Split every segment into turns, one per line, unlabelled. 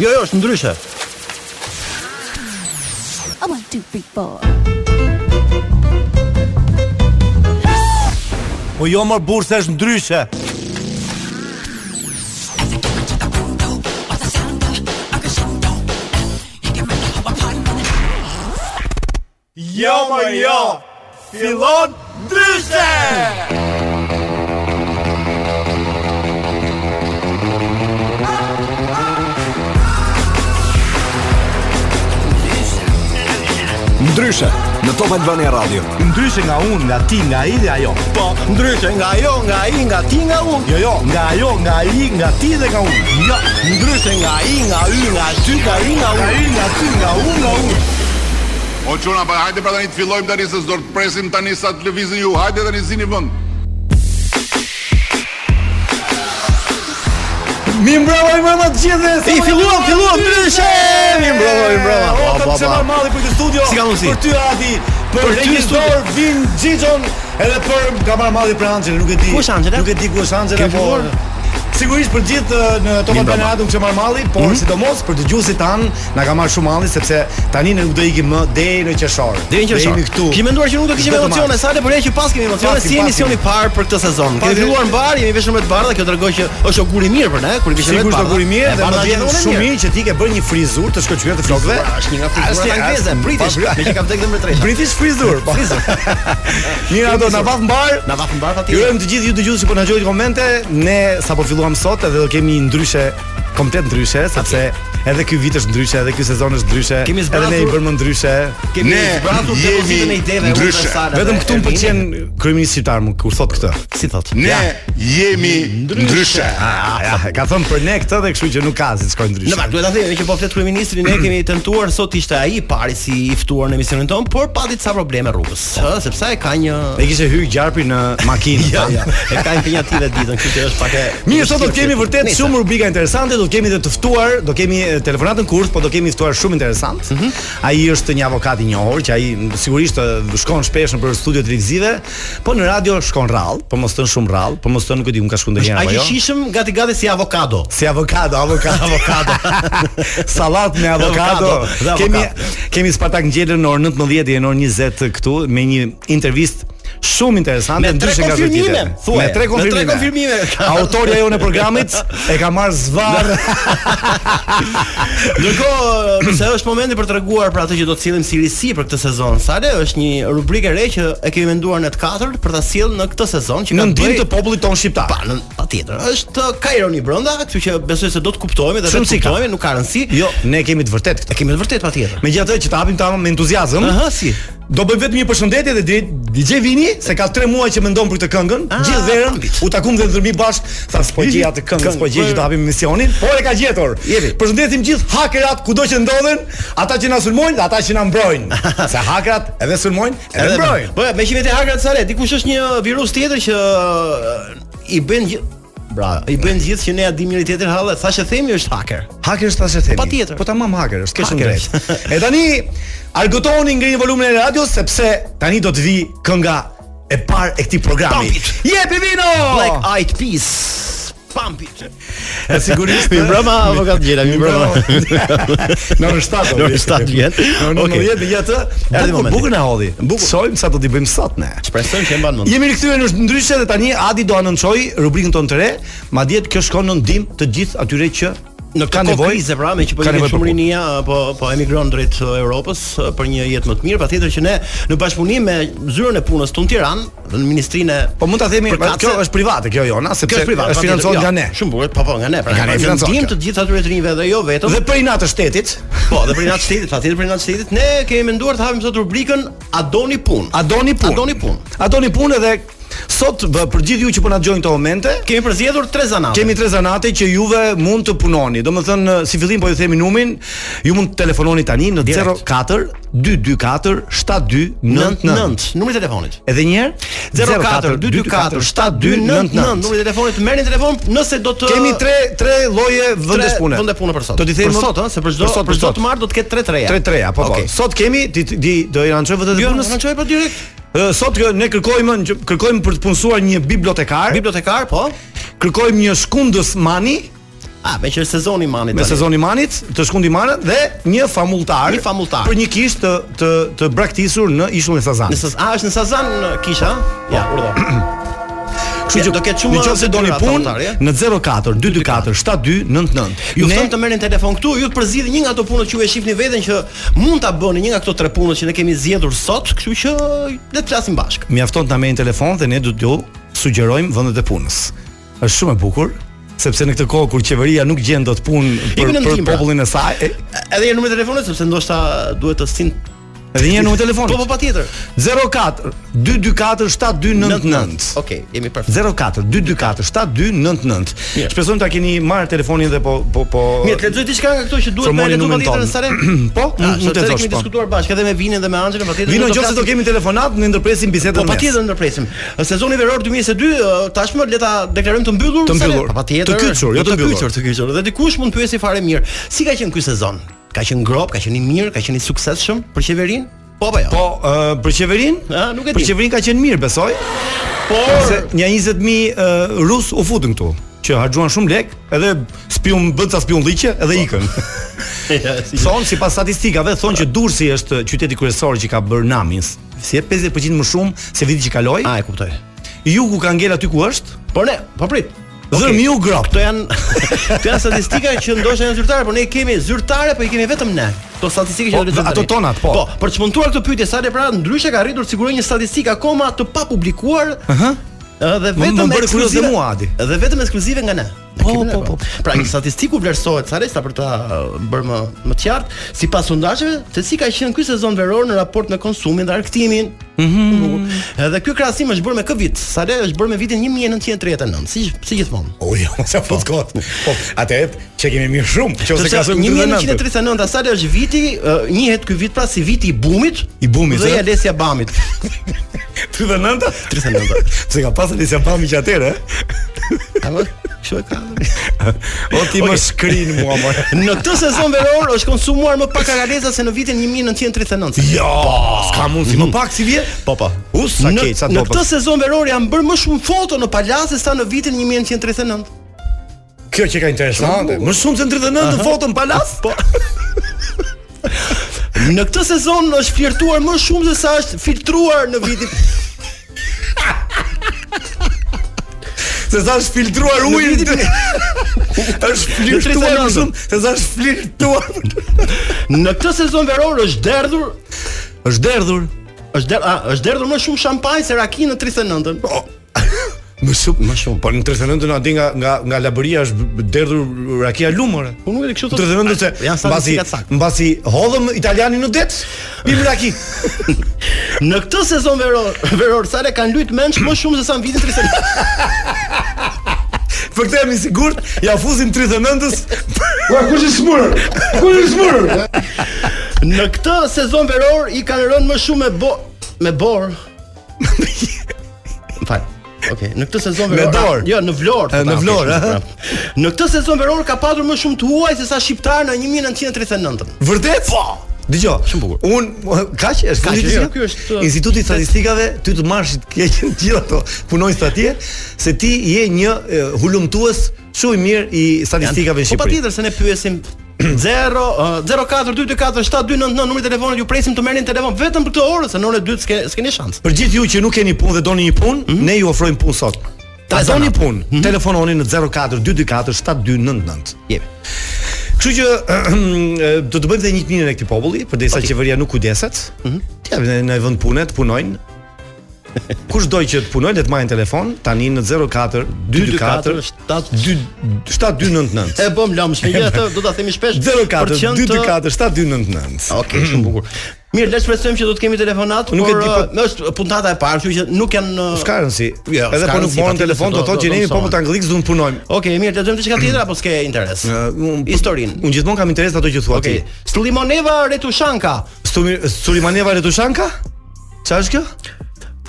Jo, jo, është ndryshe.
I want two, three, four.
Po jo mor burse është ndryshe. Jo mor jo. Fillon ndryshe.
Ndryshe në Top Albania Radio.
Ndryshe nga unë, nga ti, nga i dhe ajo.
Po, ndryshe nga ajo, nga ai, nga ti, nga unë.
Jo, jo, nga ajo, nga i, nga ti dhe nga unë. Jo,
Ndryshe nga ai, nga y, nga ty, nga i, nga
nga
unë.
i, nga ti, nga unë, nga unë.
O çuna, pa hajde pra tani të fillojmë tani se s'do të presim tani sa të lëvizin ju. Hajde tani zini vend.
Mi mbrava i mbrava të gjithë dhe
I filluam, filluam, ndryshe! Mi mbrava, mi mbrava.
O,
Po,
të
po,
pse
po.
më malli për këtë studio
Si ka mundësi?
Për ty Adi Për,
Për ty
regjisor Vin Gjixon Edhe për kamara malli për Angel Nuk e di
Ku është Angela?
Nuk e di ku është Angela
Ke
po,
filluar?
Sigurisht për gjithë eh, në Top
Vin Mhm.
Albana
Brava.
Radio që marr malli, por sidomos për dëgjuesit tan na ka marr shumë malli sepse tani ne nuk do ikim më deri në qershor.
Deri në qershor.
Jemi këtu.
Kishim menduar që nuk do kishim
Vetëm
emocione,
aks.
sa le por e që pas kemi emocione
Pasim,
si
pasim.
emisioni i parë për këtë sezon.
Pasim.
Kemi filluar mbar, jemi veshur me të bardha, kjo tregon që është ogur i mirë për ne, kur i vishim me të
Sigurisht do
bardha.
kur i mirë dhe më vjen shumë mirë që ti ke bërë një frizurë të shkëlqyer të flokëve.
Pra, është një nga
Asnjë-
figurat angleze,
asnjë-
british,
pa-
me që ka vdekë dhe më tresha.
British frizur, po.
Frizur.
Mirë ato na vaf mbar.
Na vaf mbar
Ju
patjetër.
urojmë të gjithë ju dëgjues që po na dëgjojnë komente, ne sapo filluam sot edhe do kemi një ndryshe komplet ndryshe, sepse edhe ky vit është ndryshe, edhe ky sezon është ndryshe,
Kemi
edhe ne i
zbratur-
bëmë ndryshe.
Kemi
Ne
zbratur
jemi
depozitën e ideve
ndryshe.
universale.
Vetëm
dhe
këtu më
Ermini.
pëlqen kryeminist shqiptar më kur thot këtë.
si thot.
Ne
Ja.
jemi ndryshe.
Ja, ka thënë për ne këtë dhe kështu që nuk ka si të shkojë
Ah, Në
ndryshe.
fakt duhet ta themi që po flet kryeministri ne kemi tentuar sot ishte ai i pari si i ftuar në emisionin ton, por pati disa probleme rrugës, ë, sepse ai ka një
E kishte hyr gjarpi në makinë.
Ja, ja, e ka impenjative ditën, kështu që është pak e
Mirë, sot do të kemi vërtet
Nice.
shumë rubrika interesante, do të kemi edhe të ftuar, do kemi e, telefonatën kurth, po do kemi ftuar shumë interesant. Ai është një avokat i njohur që ai m, sigurisht e, shkon shpesh nëpër studio televizive, po në radio shkon rrallë, po mos tën shumë rrallë, po mos tën nuk e di, un ka shkuar ndonjëherë
Ai
apo
që
jo.
shishëm gati gati si avokado.
Si avokado, avokado, avokado. Sallat me avokado.
Avokado, dhe avokado.
Kemi kemi Spartak ngjelën në orën 19 deri në orën 20 këtu me një intervistë shumë interesante
Me tre
ndryshe nga çdo
konfirmime,
tjetër.
thuaj.
Me tre
Me tre
konfirmime.
konfirmime.
Autoria jonë e programit e ka marrë zvarr.
Ndërkohë, nëse është momenti për t'rreguar për atë që do të sillim si risi për këtë sezon. Sale është një rubrikë e re që e kemi menduar ne të katërt për ta sjellë në këtë sezon që
Në
ka
ndim
bëj-
të po- popullit ton shqiptar.
Pa, në patjetër. Është ka ironi brenda, kështu që besoj se do të kuptohemi dhe
Shumë
vetë
si ka.
kuptohemi, nuk ka rëndësi.
Jo, ne kemi të vërtet
e
këtë.
kemi të vërtet patjetër.
Megjithatë që ta hapim tamam me entuziazëm.
Aha, si.
Do bëj vetëm një përshëndetje dhe diri- DJ Vini se ka 3 muaj që mendon për këtë këngën. Gjithë verën u takum dhe ndërmi bashk, tha s'po gjej atë këngën, s'po gjej po që ta hapim misionin, por e ka gjetur.
Jepi.
Përshëndesim gjithë hakerat kudo që ndodhen, ata që na sulmojnë dhe ata që na mbrojnë. Se hakerat edhe sulmojnë, edhe, mbrojnë.
Po, me qenë te hakrat sale, dikush është një virus tjetër që e, i bën gjë Bra, i bën gjithë që ne ja dimë njëri tjetrin hallë, thashë themi është hacker.
Haker është thashë themi.
patjetër.
Po tamam haker është, ke shumë
Haker
drejt. E tani argëtoni ngrini volumin e radios sepse tani do të vi kënga e parë e këtij programi.
Pump it.
Jepi vino!
Black Eyed Peas. Pump it.
E sigurisht.
Mi mbrëma, avokat Gjela, eh? mi mbrëma.
Në orën 7.
Në orën 7 vjen.
Në orën
Okej.
10 me jetë.
Erdhi
Bukur
momenti.
bukur na hodhi.
Bukur.
Shojmë sa do t'i bëjmë sot ne.
Shpresojmë që e mban mend.
Jemi rikthyer në ndryshe dhe tani Adi do anoncoj rubrikën tonë të re, madje kjo shkon në ndihmë të gjithë atyre që
Në
kanë
këtë kohë
nevojë
krize pra, me që po
kanë
jemi
nevojë për
shumë
punë.
rinia, po po emigron drejt uh, Europës uh, për një jetë më të mirë, patjetër që ne në bashkëpunim me zyrën e punës tonë Tiranë, në Ministrinë e
Po mund ta themi,
Përkatse-
kjo është private kjo jona, sepse
Kjo është privat.
është
patjetër,
financuar
jo.
nga ne.
Shumë bukur, po po, nga ne. Pra,
Nga ne
ne
financohet
ndim
kjo.
të gjithë atyre të rinjve dhe jo vetëm.
Dhe për i natë shtetit,
po, dhe për natë shtetit, patjetër për natë shtetit, ne kemi menduar të hapim sot rubrikën A doni punë?
a doni punë?
A doni punë?
A doni punë edhe sot vë, për gjithë ju që po na dëgjojnë këto momente,
Kemi përzgjedhur tre zanate.
kemi tre zanate që juve mund të punoni. Domethënë, si fillim po ju themi numrin, ju mund të telefononi tani në
Direkt.
04 224 7299.
99 numri i telefonit.
Edhe një herë
04 224 7299 numri i telefonit. Merrni telefon nëse do të
Kemi tre tre lloje vendesh pune.
Vende pune për sot.
Do t'i them
për sot, ë, se për çdo për çdo të marr do të ketë tre treja.
3 3 apo po.
Okej.
Sot kemi ti di do i rançoj vetë të
Jo,
punës.
na çoj pa direkt.
Ë, Sot kë- ne kërkojmë në- kërkojmë për të punësuar një bibliotekar,
Bibliotekar, po.
kërkojmë një shkundës mani
Ah, me që është sezoni i manit.
me
tani.
sezon i manit, të shkund i manit dhe një famulltar,
Një famulltar.
për një kishë të të të braktisur në ishullin e
Në
Sazanit.
sez... Ah, është në Sazan në kisha? Ja, urdhë.
Kështu që
do ketë shumë
nëse doni
detyra
punë
famulltari, ja?
në 04 224 7299.
eh? Ju
Ne-
ne... të merrni telefon këtu, ju të përzidhni një nga ato punët që ju e shihni veten që mund ta bëni një nga këto tre punët që ne kemi zgjedhur sot, kështu që le të flasim bashkë.
mjafton të na merrin telefon dhe ne do t'ju sugjerojmë vendet e punës. Është shumë e bukur sepse në këtë kohë kur qeveria nuk gjen dot punë për,
Jemi në
për
ndihmë, pra.
popullin e saj, e,
Edhe një numër telefoni sepse ndoshta duhet të sin
edhe një herë numri i telefonit.
Po po patjetër.
04 224 7299.
Okej, jemi perfekt.
04 224 7299.
Mirë.
Shpresojmë ta keni marrë telefonin dhe po po po
Mirë, të lexoj diçka nga këto që duhet
Formoni
me lexuar
numrin
patjetër
ton.
në Sare.
Po, mund të
të
lexosh,
kemi
po.
diskutuar bashkë edhe me Vinën dhe me Anxhelën patjetër.
Vino
do të
nëse do
flasim-
kemi telefonat, ne ndërpresim bisedën.
Po patjetër ndërpresim. Sezoni veror 2022 ë, tashmë le ta deklarojmë të mbyllur.
Të
Sare.
mbyllur.
Po patjetër.
Të kyçur, jo të mbyllur.
kyçur, të kyçur. Dhe dikush mund pyesi fare mirë. Si ka qenë ky sezon? Ka qenë ngrop, ka qenë i mirë, ka qenë i suksesshëm për qeverinë? Po apo jo?
Po, ë, për qeverin?
Ë, nuk e
Për
di.
qeverin ka qenë mirë, besoj. Por se një 20000 uh, rus u futën këtu, që harxuan shumë lek, edhe spiun bën ca spiun liqe, edhe ikën. Po, Thonë sipas statistikave thonë që Durrësi është qyteti kryesor që ka bërë namis. Si e 50% më shumë se viti që kaloi.
A e kuptoj.
Jugu ka ngel aty ku është.
Po ne, po prit.
Dhërmiu grop.
Këto janë këto janë statistika që ndoshta janë zyrtare, por ne i kemi zyrtare, po i kemi vetëm ne. Këto statistika që
Po,
do të lexojmë
ato
tani.
tonat, po.
Po, për të çmontuar këtë pyetje sa le pra ndryshe ka arritur të sigurojë një statistikë akoma të pa publikuar. Ëh. Dhe
më
vetëm
bëri kurioz dhe
ekskluzive-
mua, Adi.
Dhe vetëm ekskluzive nga ne. Ne
Po,
kemi ne,
po,
pra.
po.
Pra një statistiku vlerësohet sa resta për ta uh, bërë më më të qartë, sipas sondazheve, se si ka qenë ky sezon veror në raport me konsumin dhe arktimin. Mhm. Edhe ky krahasim është bërë me kë vit? Sa le është bërë me vitin 1939, si si gjithmonë.
O jo, sa fot kot. Po, atëherë që kemi mirë shumë,
Sepse
nëse ka sojmë 1939.
1939 sa është viti, uh, njihet ky vit pra si viti i bumit,
I bumit,
dhe
ëh?
i Alesja Bamit.
39-ta?
39.
Pse ka pasur disa pami që atëherë? eh?
Apo kjo e ka.
O ti më
Okej.
shkrin mua më.
Në këtë sezon veror është konsumuar më pak akaleza se në vitin 1939.
Jo, s'ka mundsi më pak si vje?
Po po.
Us, sa
Në,
keq, sa
në
dobët.
këtë sezon veror janë bërë më shumë foto në palase sa në vitin 1939.
Kjo që ka interesante.
Më shumë se 39 në fotën palas. Po.
Në këtë sezon është flirtuar më shumë se sa është filtruar në vitin
Se sa është filtruar uji. Është filtruar më
39.
shumë, se sa është filtruar.
Në këtë sezon veror është derdhur
Është derdhur.
është der, a, është derdhur më shumë shampanjë se raki në 39-ën. Po,
Më shumë, më shumë. Po në 39-ën aty nga nga nga labëria është b- derdhur rakia lumore.
po nuk e di kështu
Në 39-ën se
janë
mbasi
statistikat saktë.
mbasi hodhëm italianin në det, bim raki.
Në këtë sezon veror, veror sale kanë luajt mendsh më shumë se sa në vitin 39.
Për këtë jam i sigurt, ja fuzim 39-ës.
Në këtë sezon veror i kanë rënë më shumë me bo me bor. Fal. Okej, në këtë sezon veror.
Me dorë.
a, Jo, në Vlorë.
E, në
po,
Vlorë, eh?
okej,
aha.
po. Në këtë sezon veror ka patur më shumë të huaj se sa shqiptar në 1939-ën.
Vërtet? Po.
Dgjoj.
Shumë bukur.
Un kaq është
Kaq,
Instituti-
jo, ky është-
Instituti i Statistikave, ty të marrësh të keqen gjithë ato punojnë atje, se ti je një e, hulumtues shumë i mirë i statistikave në
Po
Shqipëri.
patjetër se ne pyesim 0 uh, 0422472999 numri i telefonit ju presim të merrni në telefon vetëm për këtë orë se në orën e dytë s'ke s'keni shans.
Për gjithë ju që nuk keni punë dhe doni një punë,
Mhm.
ne ju ofrojmë punë sot. Ta
Trezana.
doni punë,
Mhm.
telefononi në 04 224 7299.
Jemi.
Kështu që do të bëjmë dhe një të mirën e këtij populli, përderisa qeveria nuk kujdeset. Ëh.
Mhm.
Ja në- në vend pune të punojnë. Kush do që të punojë le të marrin telefon tani në 04 224 7299.
E bëm lëmshme, gjithë atë do ta themi shpesh
04
për qenë të-
224 7299.
Okej, shumë bukur. Mirë, le të shpresojmë që do të kemi telefonat,
Mm. Nuk e
por
di, po-
uh, është puntata e parë, kështu që nuk janë uh,
S'ka rëndsi.
Jo,
Edhe
s'ka
po nuk
rëndsi,
morën
patjetër
telefon
se
do
do-
të thotë që
do
ne jemi
mësohen.
popull anglik, do të punojmë.
Okej, mirë, le të lexojmë diçka tjetër apo s'ke interes? Historinë.
Unë gjithmonë kam interes në ato që thua
Okej.
Mm. ti.
Slimoneva Retushanka,
Stumi- Sulimaneva Retushanka? Çfarë është kjo?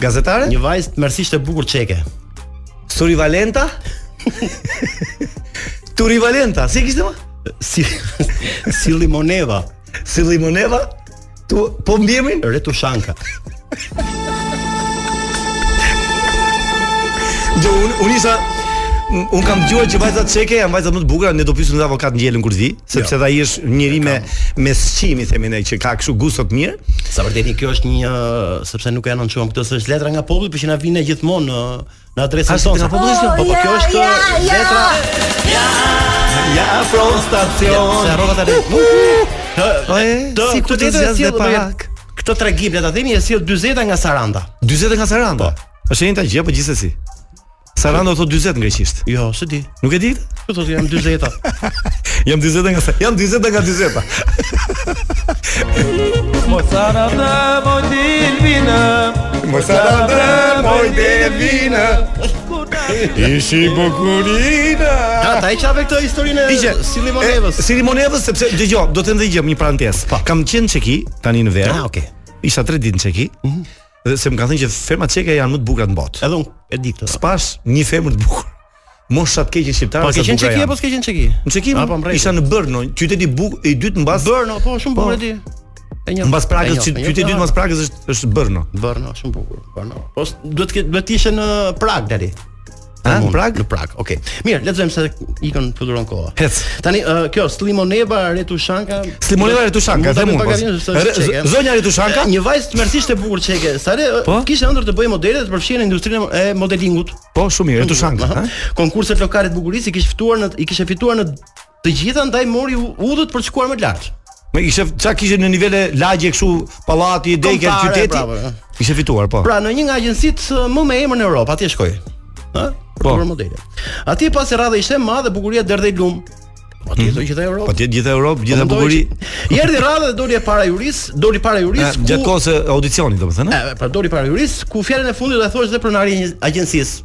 Gazetare?
një vajzë mërsisht e bukur çeke.
Suri Valenta? Turi Valenta, si e kishte më?
Si si Limoneva
Si Limoneva? Tu po mbjemrin?
Retushanka.
Do un, un isha Un- Un kam dëgjuar që vajzat çeke janë vajzat më të bukura, ne do pyesim edhe avokat ngjelën kur vi, sepse ai është njëri me me sqimi themi ne që ka kështu gusto të mirë.
Sa vërteti kjo është një ë, sepse nuk e anoncuam këtë se është letra nga populli, por që na vjen gjithmonë në në
A
adresën
është
tonë.
nga populli
Po
kjo?
po kjo është
ja, ja.
letra.
Ja afro stacion.
Se harrova tani.
E,
Të
si ku
këtë
të
letër e
zjasë
sjell
dhe
pak.
pak.
Këtë tragim le ta themi e sjell 40 nga Saranda.
40 nga Saranda. Është e njëjta gjë, po gjithsesi. Saranda thot 40 në greqisht.
Jo, s'e di.
Nuk e di?
Po thotë jam 40-ta.
Jam 40 nga Jam 40 nga 40.
Mos ara dhe moj devina Ishi bukurina
Ta ta e qave këtë historinë
Iqe,
e Silimonevës. Po.
Si Limonevës sepse dëgjoj, do të them dhe gjë një parantesë. Kam qenë në Çeki tani në verë.
Ah, Mhm. okay.
Isha 3 ditë në Çeki. Dhe se më kanë thënë që fermat çeke janë më të bukura në botë.
Edhe unë e di këtë.
Spash një femër të bukur. Mosha të keqin shqiptare
Po
sa
ke qenë
bukura
çeki apo
janë.
s'ke qenë çeki?
Në Çeki
Ah, po, në rregull.
isha në Brno, qyteti buk i dytë mbas
Brno, po shumë
Po.
bukur e di. jo, E njoh.
mbas Pragës,
E njoh,
qy-
e njoh.
qyteti i dytë mbas Pragës është është Brno.
Brno, shumë bukur. Brno. Po s- duhet të ketë duhet të ishe në Prag deri.
A në
Mund,
Prag?
Në Prag. Okej. Mirë, lexojmë se ikën fluturon koha.
Hec.
Tani ë, kjo Slimoneva Retushanka.
Slimoneva Retushanka, them unë.
Mund
pas.
ta bëj pak gabim, sepse është
Re-
çeke.
Zonja Retushanka?
Një vajzë mërësisht e bukur çeke. Sa re
Po?
kishte ëndër të bëjë modele të përfshihen në industrinë e modelingut.
Po, shumë mirë, Retushanka,
Aha.
ha?
Konkurset lokale të bukurisë i kishte ftuar në i kishte fituar në të gjitha ndaj mori u- udhët për të shkuar më lart.
Me ishte çka kishte në nivele lagje kështu, pallati, degë,
Kombëtare, bravo,
qyteti.
ha.
Kishte fituar, po.
Pra në një nga agjencitë më me emër në Europë, atje shkoi. Ë? Për
Po.
të bërë modele. Atje pasi rradha ishte e madhe, bukuria derdhej lum. Po atje do gjithë Europë.
Po ti gjithë Europë, gjithë
Mendoj
bukuri.
që- I erdhi rradha dhe doli e para juris, doli para juris.
Gjatë kohës së audicionit, domethënë.
E, pra doli para juris, ku fjalën e fundit do e thosh dhe pronari i agjencisë.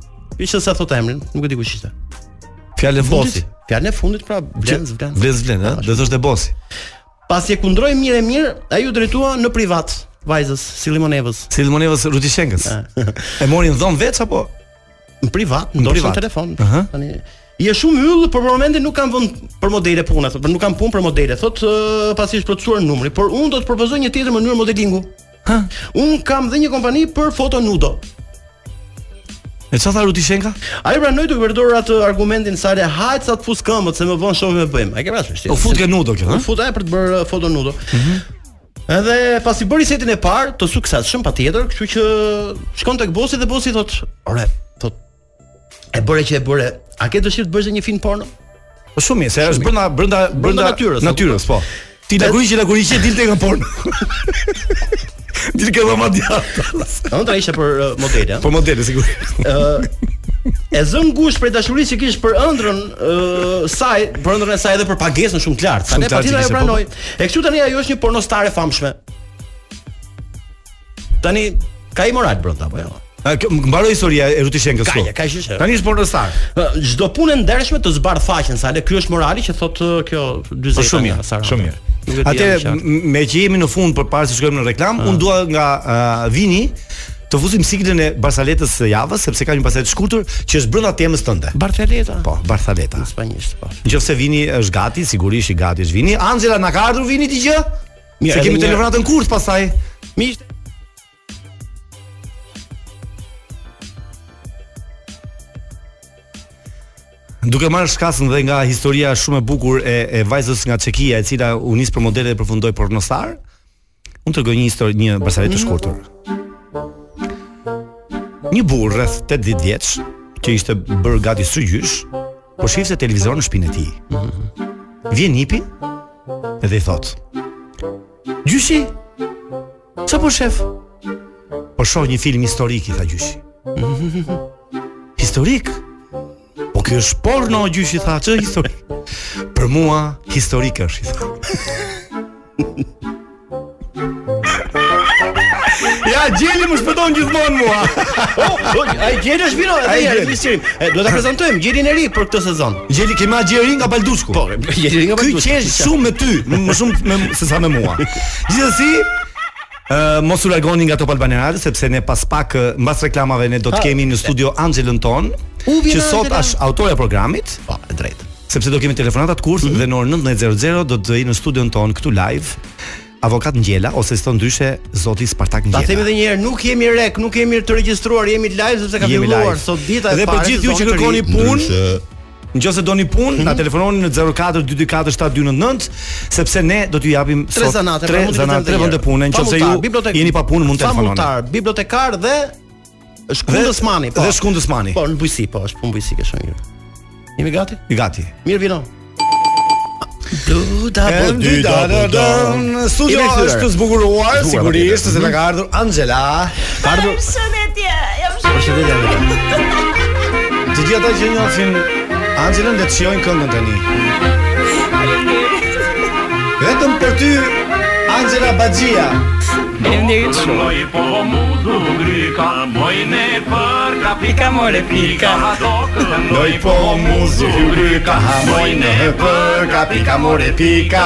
Ishte sa thot emrin, nuk e di kush ishte.
Fjalë e
Bosi.
fundit.
Fjalën e fundit pra
Që-
Vlenz, Vlenz.
Vlez vlen, ha?
Eh.
Do thoshte bosi.
Pasi e kundroi mirë e mirë, ai u drejtua në privat vajzës Silimonevës.
Si Limonevës Rutishenkës.
Eh.
E morin dhon veç apo?
Në privat, ndoshta
privat.
në telefon.
Aha.
Tani i është shumë yll, por për momentin nuk kam vend për modele puna, thotë, për nuk kam punë për modele. Thot uh, pasi është plotësuar numri, por unë do të propozoj një tjetër mënyrë modelingu.
Ha?
Unë kam dhe një kompani për foto nudo.
E çfarë tha Rutishenka?
Ai pranoi të përdor atë argumentin sa le hajt sa të fus këmbët se më vonë shohim e bëjmë. Ai ke parasysh ti?
O fut ke nudo kjo, ha?
U fut ai për të bërë uh, foto nudo.
Mhm.
Edhe pasi bëri setin e parë të suksesshëm patjetër, kështu që shkon tek bosi dhe bosi thot, "Ore, thot, e bëre që e bëre. A ke dëshirë të bësh dhe një film porno?"
Po shumë mirë, se është brenda brenda brenda
natyrës,
Natyrës, po. Ti laguriçi, laguriçi dilte nga porn. Dilte nga madja.
Ëndra ishte për uh, modele. ëh.
Po modele sigurisht.
E zën ngushtë për dashurisë që kishte për ëndrrën uh, saj, për ëndrrën e saj edhe për pagesën shumë të lartë. Sa
Shumë
ne
të lartë po, që
patjetër ajo
kishte,
pranoi. E kështu tani ajo është një pornostare famshme. Tani ka i moral brenda apo jo?
A kjo- mbaroi historia e Rutishenkës.
Ka,
po.
ja, ka qenë.
Tani është pornostar.
Ë, Çdo punë e ndershme të zbardh faqen, sa le ky është morali që thot ë, kjo 40
Po shumë mirë, shumë mirë. Atë m- me që jemi në fund përpara se shkojmë në reklam, unë dua nga ah, Vini të fusim siklën e Barsaletës së javës sepse ka një Barsalet të shkurtër që është brenda temës tënde.
Barceleta.
Po, Barsaleta.
spanjisht po.
Nëse Vini është gati, sigurisht i gati është Vini. Anxela na ka ardhur Vini ti gjë?
Mirë,
se
edhe
kemi
një-
telefonatën kurth pastaj.
Miq,
Duke marrë shkasën dhe nga historia shumë e bukur e, e vajzës nga Çekia, e cila u nis për modele dhe përfundoi pornostar, unë tregoj një histori, një barsalet të shkurtër. Një burr rreth 80 vjeç, që ishte bërë gati sygjysh, po shifte televizor në shtëpinë e tij. Vjen hipi edhe i thot: "Gjyshi, çfarë po shef?" Po shoh një film historik i tha gjyshi. Historik? Po kjo është porno gjyshi tha, ç'është historik? Për mua historik është, i tha. ja, gjeli më shpëton gjithmonë mua.
Po, ai gjeni është vino edhe
Ai
një
gjeni.
misterim. Do ta prezantojmë gjerin e ri për këtë sezon.
Gjeli kemi agjeri nga Baldusku. Po,
Gjeri nga
Ky
Bardhus.
qesh shumë me ty, më shumë me, se sa me mua. Gjithsesi, ë mos u largoni nga Top Albania Radio sepse ne pas pak ë, mbas reklamave ne do të kemi në studio Anxhelën ton,
U vjen
që sot
Anxhela.
është autoja e programit.
Po, e drejtë. Mhm.
sepse do kemi telefonata të kurth dhe në orën 19:00 do të vi në studion ton këtu live Avokat Ngjela ose si thon ndryshe Zoti Spartak
Ta
Ngjela.
themi edhe një herë, nuk jemi rek, nuk jemi të regjistruar, jemi live sepse ka
Jemi
filluar
live.
sot dita e
Dhe për
parë.
gjithë ju që
sezonit të ri.
kërkoni punë,
Ndryshe-
nëse doni
Mhm.
punë, na telefononi në 04 224 7299 sepse ne do t'ju japim
tre
sot
zanate,
tre
pra mund të
zanate,
kërkojnë
tre
të
vende
tjerë.
pune, nëse
Famultar,
ju
bibliotek-
jeni pa punë mund të telefononi.
Famultar, bibliotekar dhe shkundës mani, po.
Dhe shkundës mani.
Po, në bujësi, po, është punë bujësi ke shonë. Jemi gati?
I gati.
Mirë vino. Du da po dy da po da.
Studio
Jemi kthyer.
është të zbukuruar
Zbukuruar,
sigurisht se
patjetër.
na ka ardhur Angela. Ka ardhur
Përshëndetje, jam
Përshëndetje, Angela.
të gjithë ata që njohin Angelën dhe të shijojnë këngën tani. Vetëm për ty Angela Baxhia.
Faleminderit shumë. Pika more pika.
Noi po muzu ka hamojnë e për ka pika more pika.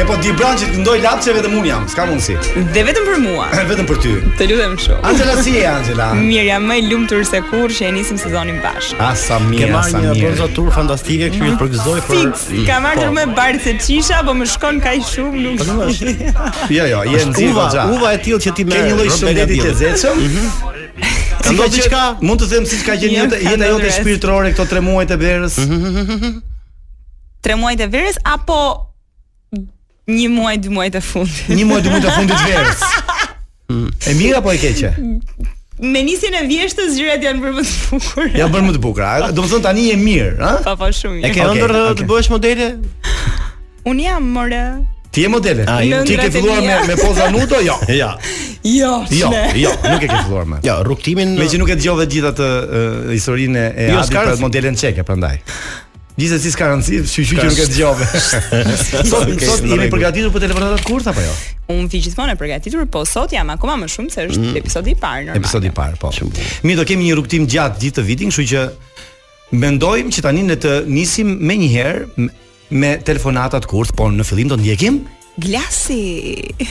E po di brançit ndoj lapse vetëm un jam, s'ka mundsi.
Dhe vetëm për mua.
vetëm për ty.
Të lutem shumë.
Angela si je Angela?
Mirë, jam më i lumtur se kur që e nisim sezonin bashkë.
A sa
Ke
mirë, a
marrë
sa
një
mirë.
bronzatur fantastike, kështu që përgëzoj për Po.
Fix, ka marrë më bardhë se qisha, po më shkon kaq shumë, nuk.
Jo, jo, je nxirë
Uva,
goxha.
uva e tillë që ti merr. Mhm.
Ke një lloj shëndeti të lezetshëm. Ka
ndodhur
ndodhur diçka?
diçka?
Mund të them siç ka qenë
Jam
jeta
ka
jeta
ndodhur
jote
rreth.
shpirtërore këto 3 muajt e verës.
Tre muajt e verës apo një muaj, dy muajt e fundit.
Një muaj dy muaj të fundit të verës. E mirë apo e keqe?
Me nisjen e vjeshtës gjërat janë bërë më të bukura.
Ja bën më të bukur. a? Domethënë tani je mirë, ha?
Po po shumë
E
mirë.
ke
Okej,
ëndër okay,
okej.
të bësh modele?
Unë jam more.
Ti je modele.
Ai,
Lëndrat
Ti ke
e
filluar me
mia.
me poza nudo? Jo.
Ja.
Jo,
Jo,
shne.
jo, nuk e ke filluar më.
Ja, Jo, rrugtimin
Me që nuk e dëgjove gjithë atë ë, historinë e
Jo,
Adit
s'ka
për
rëndsi.
modelen çeke prandaj. Gjithsesi s'ka rëndsi, shqyqy që nuk e dëgjove. Sot
Okej,
sot
në
jemi
rregull.
përgatitur për telefonatat kurth apo jo?
Unë vi gjithmonë e përgatitur, po sot jam akoma më shumë se është episodi i parë normal.
Mhm. Episodi i parë, po. Mirë, do kemi një rrugtim gjatë gjithë të vitin, kështu që mendojmë që tani ne të nisim me një herë me telefonatat kurth, por në fillim do ndjekim
Glasi.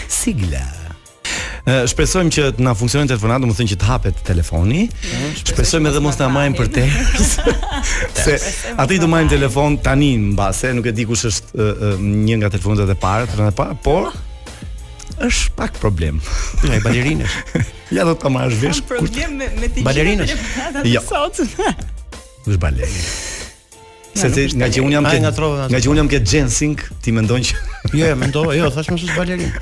sigla. Ë, Shpresojmë që të na funksionojë telefonat, do të thënë që të hapet telefoni. Shpresojmë edhe mos na marrin për tërë. se aty do marrin telefon tani mbase, nuk e di kush është ë, ë, një nga telefonat e para, telefonat e para, por është pak problem.
ai balerinësh.
ja do ta marrësh vesh kur
Kam problem me me të gjitha
Balerinës?
telefonatat
Jo.
sot.
është baleri. Se ti nga që un jam
Ai
ke
nga trova, nga
nga që un jam ke jensing, ti mendon që
Jo, jo, mendova, jo, thash më është balerin.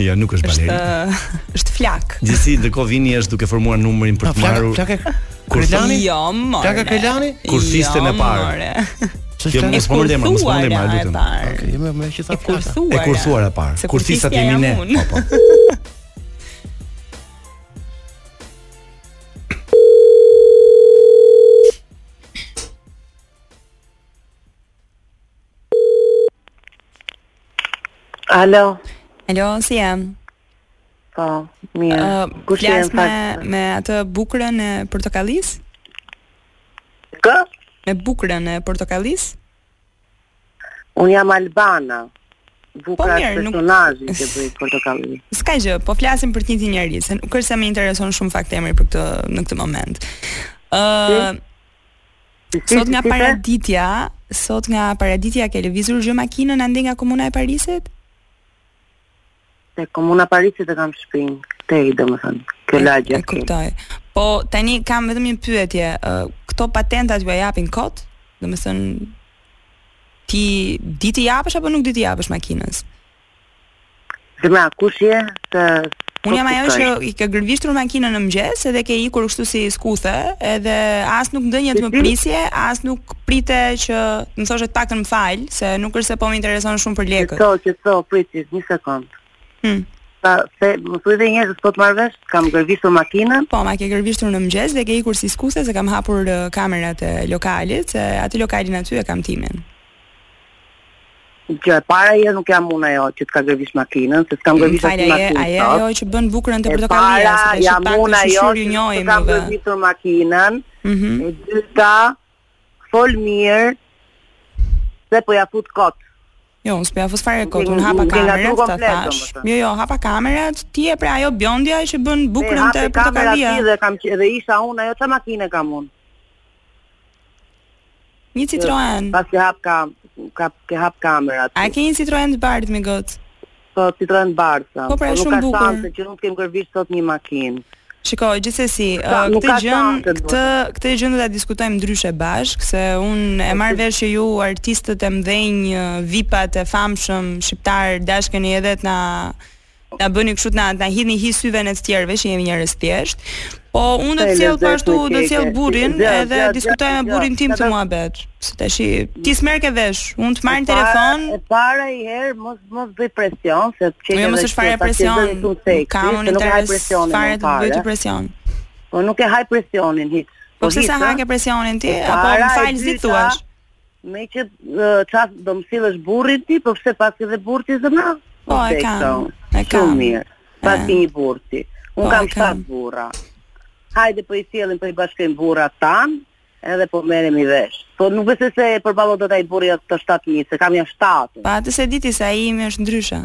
jo nuk është baleri.
Ë, është flak.
Gjithsesi ndërkohë vini është duke formuar numrin për
Po,
të
flaka,
marrur.
flaka.
Kur
Krelani?
Jo, more. Jo,
Plaka Krelani?
Kurthisten e parë.
Ç'është
Kjo
kjo?
mos po më ndemër, mos po më ndemër, lutem.
Okej, jo, më më që tha flaka.
E kurthuara.
E kurthuara e parë.
Se
Kurthisat
kurthistja
jemi ne.
jam unë.
Po, po.
Alo,
Alo, si jam?
po, mirë.
Ë,
Kush je
flas
në
me
fakt?
me atë bukurën e portokallis?
Kë?
Me bukurën e portokallis?
Unë jam Albana. Bukra po,
mirë, nuk-
personazhi që bëj portokalli.
S'ka gjë, po flasim për të njëjtin njerëz, se nuk është se më intereson shumë fakt emri për këtë në këtë moment. Ë,
Si- si-
sot nga
si the?
Paraditja, sot nga Paraditja ke lëvizur gjë makinën ande nga komuna e Parisit?
Te komuna Parisit e kam shtëpinë. Te i domethënë. Kjo lagje.
E kuptoj. Po tani kam vetëm një pyetje, ë, këto patentat ju e japin kot? Domethënë ti di ti japësh apo nuk di ti japësh makinës?
Zemra, kush je? Të
Unë jam ajo që
Po, kuptoj.
i ke gërvishtur makinën në mëngjes edhe ke ikur kështu si skuthe, edhe as nuk ndënjet më prisje, as nuk prite që më thoshe të paktën më fal, se nuk është se po më intereson shumë për
Që
lekët.
to, që to, priti një sekond.
Hmm.
Ta, se, më thuj dhe njerëz po të marr vesh, kam gërvisur makinën.
Po, ma ke gërvishtur në mëngjes dhe ke ikur si skuthe se kam hapur eh, kamerat e lokalit, se aty lokalin aty e kam timin.
Gjë e para je nuk jam unë ajo që të ka gërvish makinën, se s'kam gërvisur
Falja,
makinën.
Hmm, aje, aje
sot.
ajo që bën bukurën të
E
portokallia,
para
se
jam
tash
unë
pak
ajo
shushur ju
që
njohim
kam
edhe.
gërbitur makinën,
Mhm.
e dyta fol mirë dhe po ja fut kot.
Jo, unë s'pja fus fare kot,
Ngel-
unë hapa
ngel aty
kamerat, ta
komplet,
thash.
domethënë.
Jo, jo, hapa kamerat, ti je pra ajo bjondja që bën
E
bukurën
hapi
të
kamera
portokallia.
aty Dhe kam qe- dhe isha unë ajo çfarë makine kam unë.
Një Citroen.
Pas ke hap kam ka ke hap kamerat.
A ke një Citroen të bardhë me gotë?
po Citroen Barca.
Po, pra, është shumë
nuk
bukur.
ka shanse që nuk kem gërvish sot një makinë.
Shiko, gjithsesi,
Ka-
ë,
nuk
këtë
ka
gjën,
shanse, do
këtë këtë gjën do ta diskutojmë ndryshe bashk, se unë e marr vesh që ju artistët e mëdhenj, ë, vipat e famshëm shqiptar dashkeni edhe të na ta bëni kështu të na ta hidhni hi syve në të tjerëve që jemi njerëz thjesht. Po unë do të
Sa i
sjell po
lezetshme
ashtu,
që
do të
je,
sjell
ke.
burrin
Gjë,
edhe
gjë,
diskutoj me
gjë,
burrin tim
gjë.
të muhabet. Se tash ti s'merr ke vesh, unë të marr në
Para-
telefon. po
E para i herë mos mos bëj presion se që
Jo, mos është fare presion. Kam unë interes fare të bëj ti presion.
Po nuk e haj presionin hiç.
Po pse sa
hiç,
hake
ëh.
presionin ti?
E
Apo
Po para
më
e
fal si
dyta,
thuash?
Me që ë, çast do më sillesh burrin ti, po pse pas edhe burri ti zëna?
Po, e
Okej,
kam,
këto.
e kam.
Shumë mirë. Pas
E.
një burri ti. Un
Po, e
kam
kam.
7 burra. Hajde po i sjellim po i bashkojmë burrat tan, edhe po merrem i vesh. Po nuk besoj se përballon dot ai burri ato 7000, se kam janë 7.
Pa atë se diti se ai imi është ndryshe.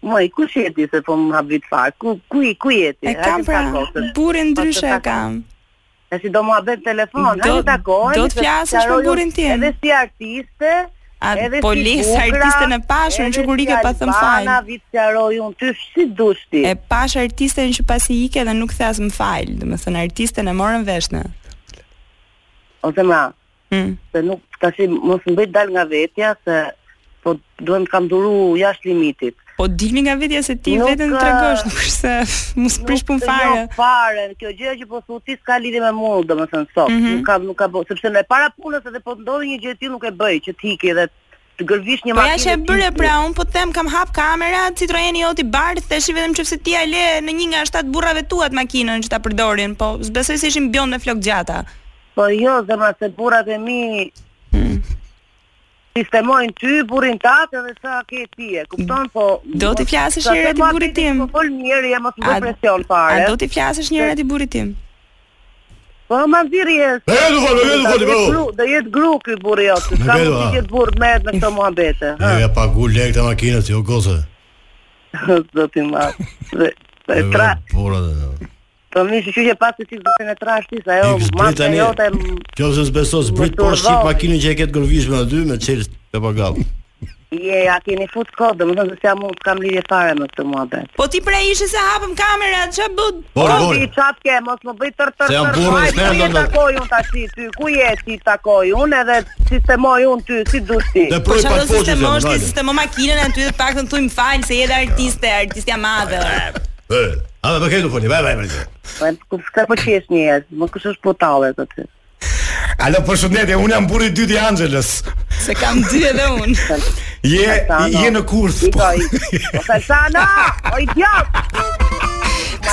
Moj, kush je ti se po më habit fare? Ku ku i- ku je ti?
E kam
Hajde
pra,
takosesh.
burrin ndryshe
Pas të
e kam.
E si do mua bën telefon,
Do-
hajde takohemi.
do të
se
flasësh
sqaroj
për burin
unë
tim.
Edhe si artiste,
A,
edhe
po
si
lisë
bukra,
artisten e pashën,
edhe
që kur
si
ike pa thëmë
albana,
falë.
vit sqaroj unë ty si dush ti.
E pash artisten që pasi ike dhe nuk thas më fal, domethënë artisten e morën vesh në.
Ose ma,
Mm.
se nuk tash mos më bëj dal nga vetja se po duhem kam duru jashtë limitit.
Po dilmi nga vetja se ti
Nuk,
veten
eh,
tregosh, nuk është se mos prish pun
Nuk-
fare.
Jo, fare, kjo gjë që po thu ti s'ka lidhje me mua, domethënë sot.
Mhm.
Nuk ka nuk ka bë, sepse me para punës edhe po ndodhi një gjë e tillë nuk e bëj, që ti ke dhe të gërvish një
Po ja që e
dhe
bëre
t'iki.
pra, un po të them kam hap kamera, Citroeni joti bardh, tash i vetëm çfarë ti ja le në një nga shtat burrave tuat makinën që ta përdorin, po s'besoj se ishin bjon me flok gjata.
Po jo, zemra se burrat e mi
Hmm.
sistemojnë ty, burin tatë edhe sa ke ti e, kupton? Po,
Do t'i flasësh
sa
një
se
herë ti
mua
burrit
piti,
tim.
Po fol mirë, jam mos më bëj
A-
presion fare.
A do ti flasësh një herë ti burrit tim?
Po ma nxirri e.
E, do fol, e, do fol,
Do jetë
po.
gru- Do jetë gru ky jo, burri jot. Ka
vedo,
mundësi
a.
që të burr merret me këto muhabete.
E ja pagu lek të makinës, jo goze.
Zoti ma. Dhe e tra,
Pura.
po mi shqyqë që pasi si zotin e trash ti, sa
E
ajo
kështë
marrë
brit tani.
jote
Qofse s'beso s'brit
Më
po shqip
turbo.
makinën që e ketë gërvish me aty me çel të pagall.
je, a keni fut kod, domethënë se s'jam unë s'kam lidhje fare me këtë muhabet.
Po ti pra ishe se hapëm kamerat, ç'a bë?
Bori,
Po
bori.
ti çap ke, mos më bëj tër tër.
Se jam
tër,
burrë,
hajde,
s'merrem
ku je
dot, dot.
Takoj unë tash ty. Ku je ti takoj unë edhe sistemoj unë ty si dush ti.
Dhe
Po
proj pa
çfarë do
poqë
sistemo është ti sistemo makinën aty dhe paktën thuj më fal se je edhe artiste, artistja madhe.
E, a më ke do foli, vaj vaj vaj.
Po, Ku s'ka po qesh një herë, më kush është potallet aty.
Alo, përshëndetje, unë jam burri i dytë i Anxhelës.
Se kam dy edhe unë.
Je
Salsano.
je në kurs.
Iko, i- o Salsano, o idiot.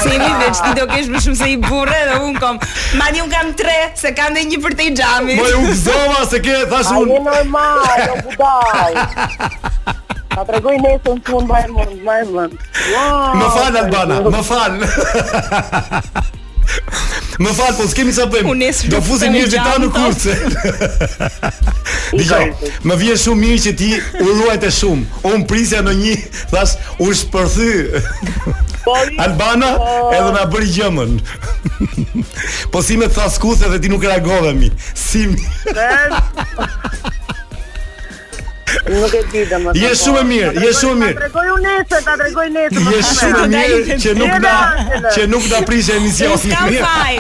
Se jemi veç ti do kesh më shumë se i burre dhe unë kom. Madje unë kam tre, se kam edhe një për te i xhamit.
Moj Po, u gëzova se ke thash
A je
unë.
normal, o budall. Ta tregoj nesër në fund mbaj mund, mbaj mund. Wow. po,
Më fal Albana, më fal. Më fal, po s'kemi sa
Unë
bëjmë.
nesër
Do
do
fusim
them
një ditë
gjatë,
në
po.
kurse. Dgjoj, më vjen shumë mirë që ti urruajte shumë. Unë prisja në një, thash, u shpërthy
Po, i-
Albana
po,
edhe na bëri gjëmën. po si me tha skuthe dhe ti nuk reagove mi. Si mi.
Nuk e di domethënë. po.
Je shumë e mirë, je shumë e mirë.
Ta tregoj unë nesër, ta tregoj nesër. më
Je
shumë e
shumë e mirë që nuk na
Mirë,
që nuk na prishë
Unë
emisioni.
s'kam faj.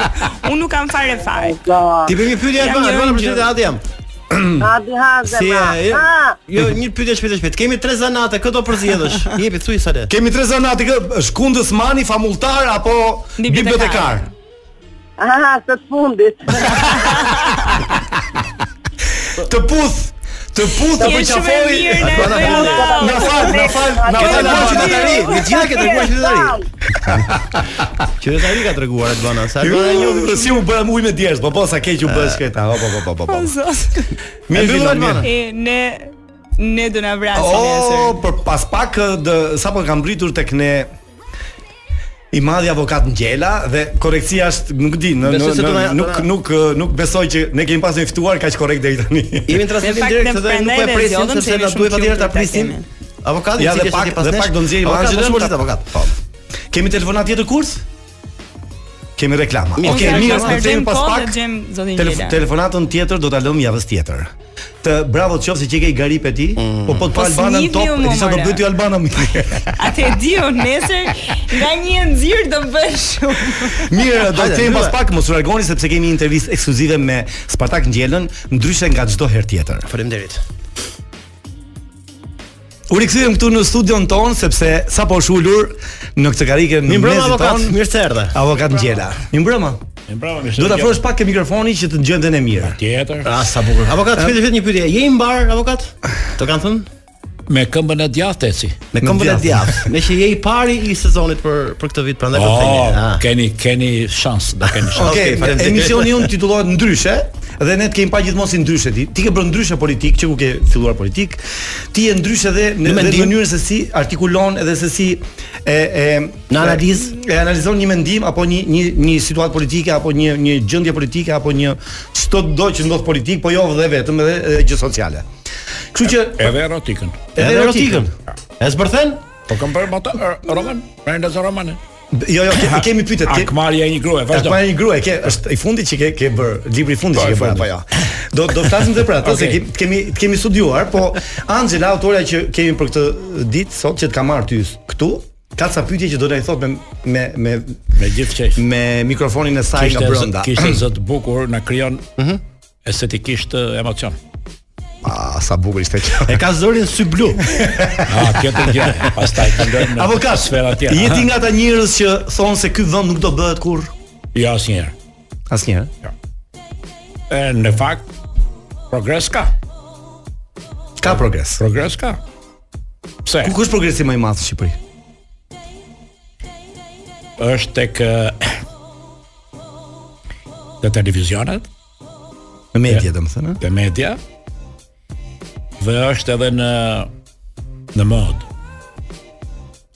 Unë nuk kam fare faj.
Ti
Ti bëj një pyetje Albana,
një
Albana për
ëngjël.
shëndetje atë jam.
Hadi haze
Si
ma.
e?
Ah,
Jo, një pyetje shpejt shpejt. Kemi tre zanate, këto përzjedhësh. Jepi thuj sa le.
Kemi tre zanati kë, është kundës mani, famultar apo
Bibliotekar.
bibliotekar.
ah, të fundit.
Të puth, të puth apo
Je shumë e
qafoi.
mirë në
Albana,
bëjë
Na fal, na fal, na
Ke
fal.
treguar
Albana.
qytetari, me gjitha ke treguar qytetari.
Wow.
Qytetari ka treguar Albana, sa
Jo,
Albana
jo,
njohim
jo, si u bëra ujë me djerës, po po sa keq u
Ah.
bësh këta. Po po po po po. Mirë,
E mbyllëm
fillon
Albana.
mirë.
E, ne ne do na vrasin
O,
nesër.
për pas pak ë, dë, sapo kam mbritur tek ne i madhi avokat Ngjela dhe korrektësia është nuk di, në, në,
Besoj se do
në,
na-
nuk
do na-
nuk ë, nuk besoj që ne kemi pasur një ftuar kaq korrekt deri tani.
Jemi në
Me
transmetim
fakt,
direkt
ne
dhe nuk po e
prandaj
presim
dhe
sepse
zgjodëm
na
se
duhet
jemi
atëherë ta
shumë
presim.
shumë
Avokati
Ja
si
dhe
ke
pak
qenë pas
dhe Po.
nesh?
pak do nxjerrim
Avokat,
avokat, mos
mos u bërt
ta-
avokat.
Po. Kemi telefonat tjetër kurs? Kemi reklama. Okej,
Mirë.
mirë,
Unë s'e
do të
harxojmë
themi pas
kohë,
pak.
dhe gjem zotin
Telef
Gjela.
telefonatën tjetër do ta lëm javës tjetër. Të bravo të qoftë që i ke garip e ti,
Mm.
po po të pa
Po
Albanën
s'njihni
top,
ju,
e
mo,
disa do
more.
bëj ti Albana më.
Atë e di unë nesër nga një nxirr do bësh shumë.
Mirë, do të
Hajde,
themi pas
mbyllë.
pak, mos u largoni sepse kemi një intervistë ekskluzive me Spartak Ngjelën, ndryshe nga çdo herë tjetër.
Faleminderit.
U rikthyem këtu në studion ton sepse sapo është ulur në këtë karike në
Mirë mbrëmë
mesin
avokat,
ton.
mirë se erdhe.
Avokat Ngjela. Mi mbrëma.
Bravo, më
Do ta afrosh pak ke mikrofonin që të dëgjojnë dhe ne mirë.
tjetër.
Ah, sa bukur. Avokat, vetë vetë një pyetje. Je i mbar avokat? Të kanë thënë?
Me këmbën e djathtë eci.
Me këmbën e djathtë. Me që je i pari i sezonit për për këtë vit, prandaj po
Oh,
thënë. Ah.
keni keni shans, do keni
Okej,
shans.
Okej, faleminderit.
emisioni jon titullohet ndryshe dhe ne të kemi pa gjithmonë si ndryshe ti. Ti ke bërë ndryshe politik që ku ke filluar politik. Ti je ndryshe dhe në
Në
dhe në
mendim.
mënyrën se si artikulon edhe se si e e
Në analizë.
e, e analizon një mendim apo një një një situatë politike apo një një gjendje politike apo një çdo do që ndodh politik, po jo dhe vetëm edhe, edhe gjë sociale. Kështu që
Edhe erotikën.
Edhe erotikën. E zbërthen?
Po kam bërë motor roman, prandaj zë romanin.
Jo, jo, ke, kemi pyetjet. ke-
Akmarja e një grue, vazhdo.
Akma një grua, ke është i fundit që ke ke bër, libri i fundit
Po,
që
i
ke bër
fundit.
apo jo. Do do flasim edhe për atë se
Okej.
ke- kemi kemi studiuar, po Angela autorja që kemi për këtë ditë sot që të ka marrë ty këtu, ka ca pyetje që do të i thot me me me
Me gjithë qejf.
me mikrofonin e saj
Kishte
nga
zë-
brenda. Mhm.
Kishte zë të bukur, na krijon estetikisht eh, emocion.
Ah, sa bukur ishte kjo.
E ka zërin sy blu.
Ah, kjo të gjë. Pastaj këndojmë në
Avokat,
sfera tjetër.
je ti
Aha.
nga ata njerëz që thonë se ky vend nuk do bëhet kurr?
Jo asnjëherë.
Asnjëherë.
E, Në fakt progres ka.
Ka progres.
Progres ka. Pse?
Ku kush progresi më i madh në Shqipëri?
është tek eh, të televizionet,
Në media, domethënë. ë?
te media dhe është edhe në në mod.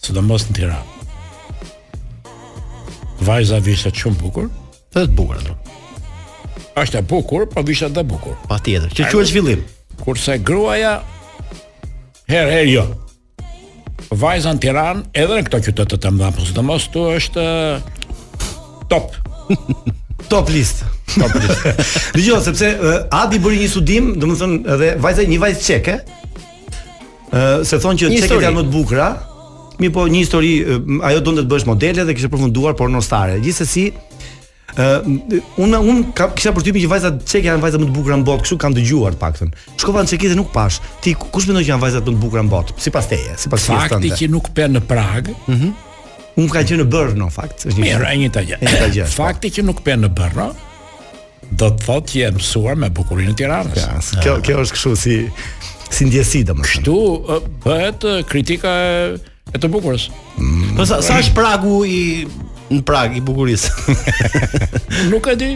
Sidomos në Tiranë. Vajza vishët shumë bukur.
Të të bukur atë.
Është e bukur, po vishët dhe bukur.
Patjetër. Që quhet zhvillim.
Kurse gruaja her her jo. Vajza në Tiranë, edhe në këto qytete të mëdha, po sidomos tu është eh, top.
Top list.
Top list.
Dgjoj, sepse uh, Adi bëri një studim, domethënë edhe vajza një vajzë çeke. Ë se thonë që
Një
çeket
histori.
janë më të bukura. Mirë po një histori, ë, ajo donte të bësh modele dhe kishte përfunduar pornostare. Gjithsesi, ë unë un ka kisha përtypin që vajzat çeke janë vajzat më të bukura në botë, kështu kam dëgjuar të paktën. Shkova në çeki dhe nuk pash. Ti ku- kush mendon që janë vajzat më të bukura në botë? Sipas teje, sipas fjalës
Fakti
tënde.
që nuk pe në Prag,
Unë kam qenë në Bërë, në fakt. është një-
Mirë, e njëjta gjë.
E njëjta gjë. po.
Fakti që nuk bën në Bërë, do të thotë që je mësuar me bukurinë e Tiranës.
Ja, s- Kjo kjo është kështu si si ndjesi domethënë.
Ktu ë, bëhet ë, kritika e- e të bukurës.
Po sa sa është pragu i në Prag i bukurisë.
Nuk e di,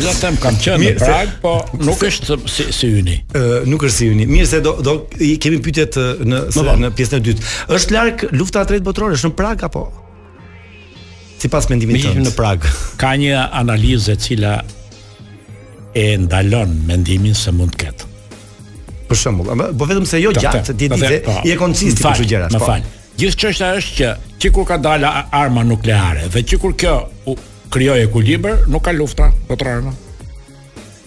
ja them kam qenë në
Mirë, se-
Prag, po nuk është si si yni.
Ë, nuk është si yni. Mirë se do do i kemi pyetjet ë, në se, në pjesën e dytë. Është larg lufta e tretë botërore, është në Prag apo? Sipas
Me
mendimit
gjithë
tënd.
në Prag.
Ka një analizë e cila e ndalon mendimin se mund të ketë.
Për shembull, ama- po vetëm se jo
Ta-
gjatë,
ta-
ti
ta-
di se
po.
i e koncisti
Më
për
fal,
këto gjëra.
Më
po.
fal. Gjithë çështja është që që kur ka dalë a- arma nukleare dhe që kur kjo u krijoi ekuilibër, nuk ka lufta po botërore. më.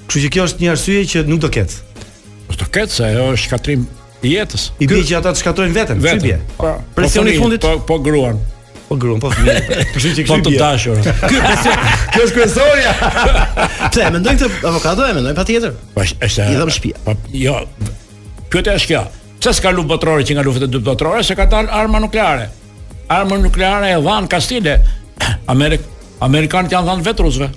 Kështu që kjo është një arsye që nuk do ketë.
Po të ketë se ajo është shkatrim i jetës.
I bie që ata të shkatrojnë veten, si bie?
Po,
Presioni
po,
fundit?
Po, po gruan.
Po gruan, po fëmijë. Kështu që
Po
kjo
të
bie.
dashur. Ky presion
Kjo është kryesorja.
Pse e mendoj këtë avokato e mendoj patjetër.
po është është
I dhëm shtëpia.
Po jo. Pyetja është kjo. Pse s'ka luftë botërore që nga luftet e dy botërore se ka dalë arma nukleare. Arma nukleare e dhan Kastile. Amerik Amerikanët janë dhënë vetë rusëve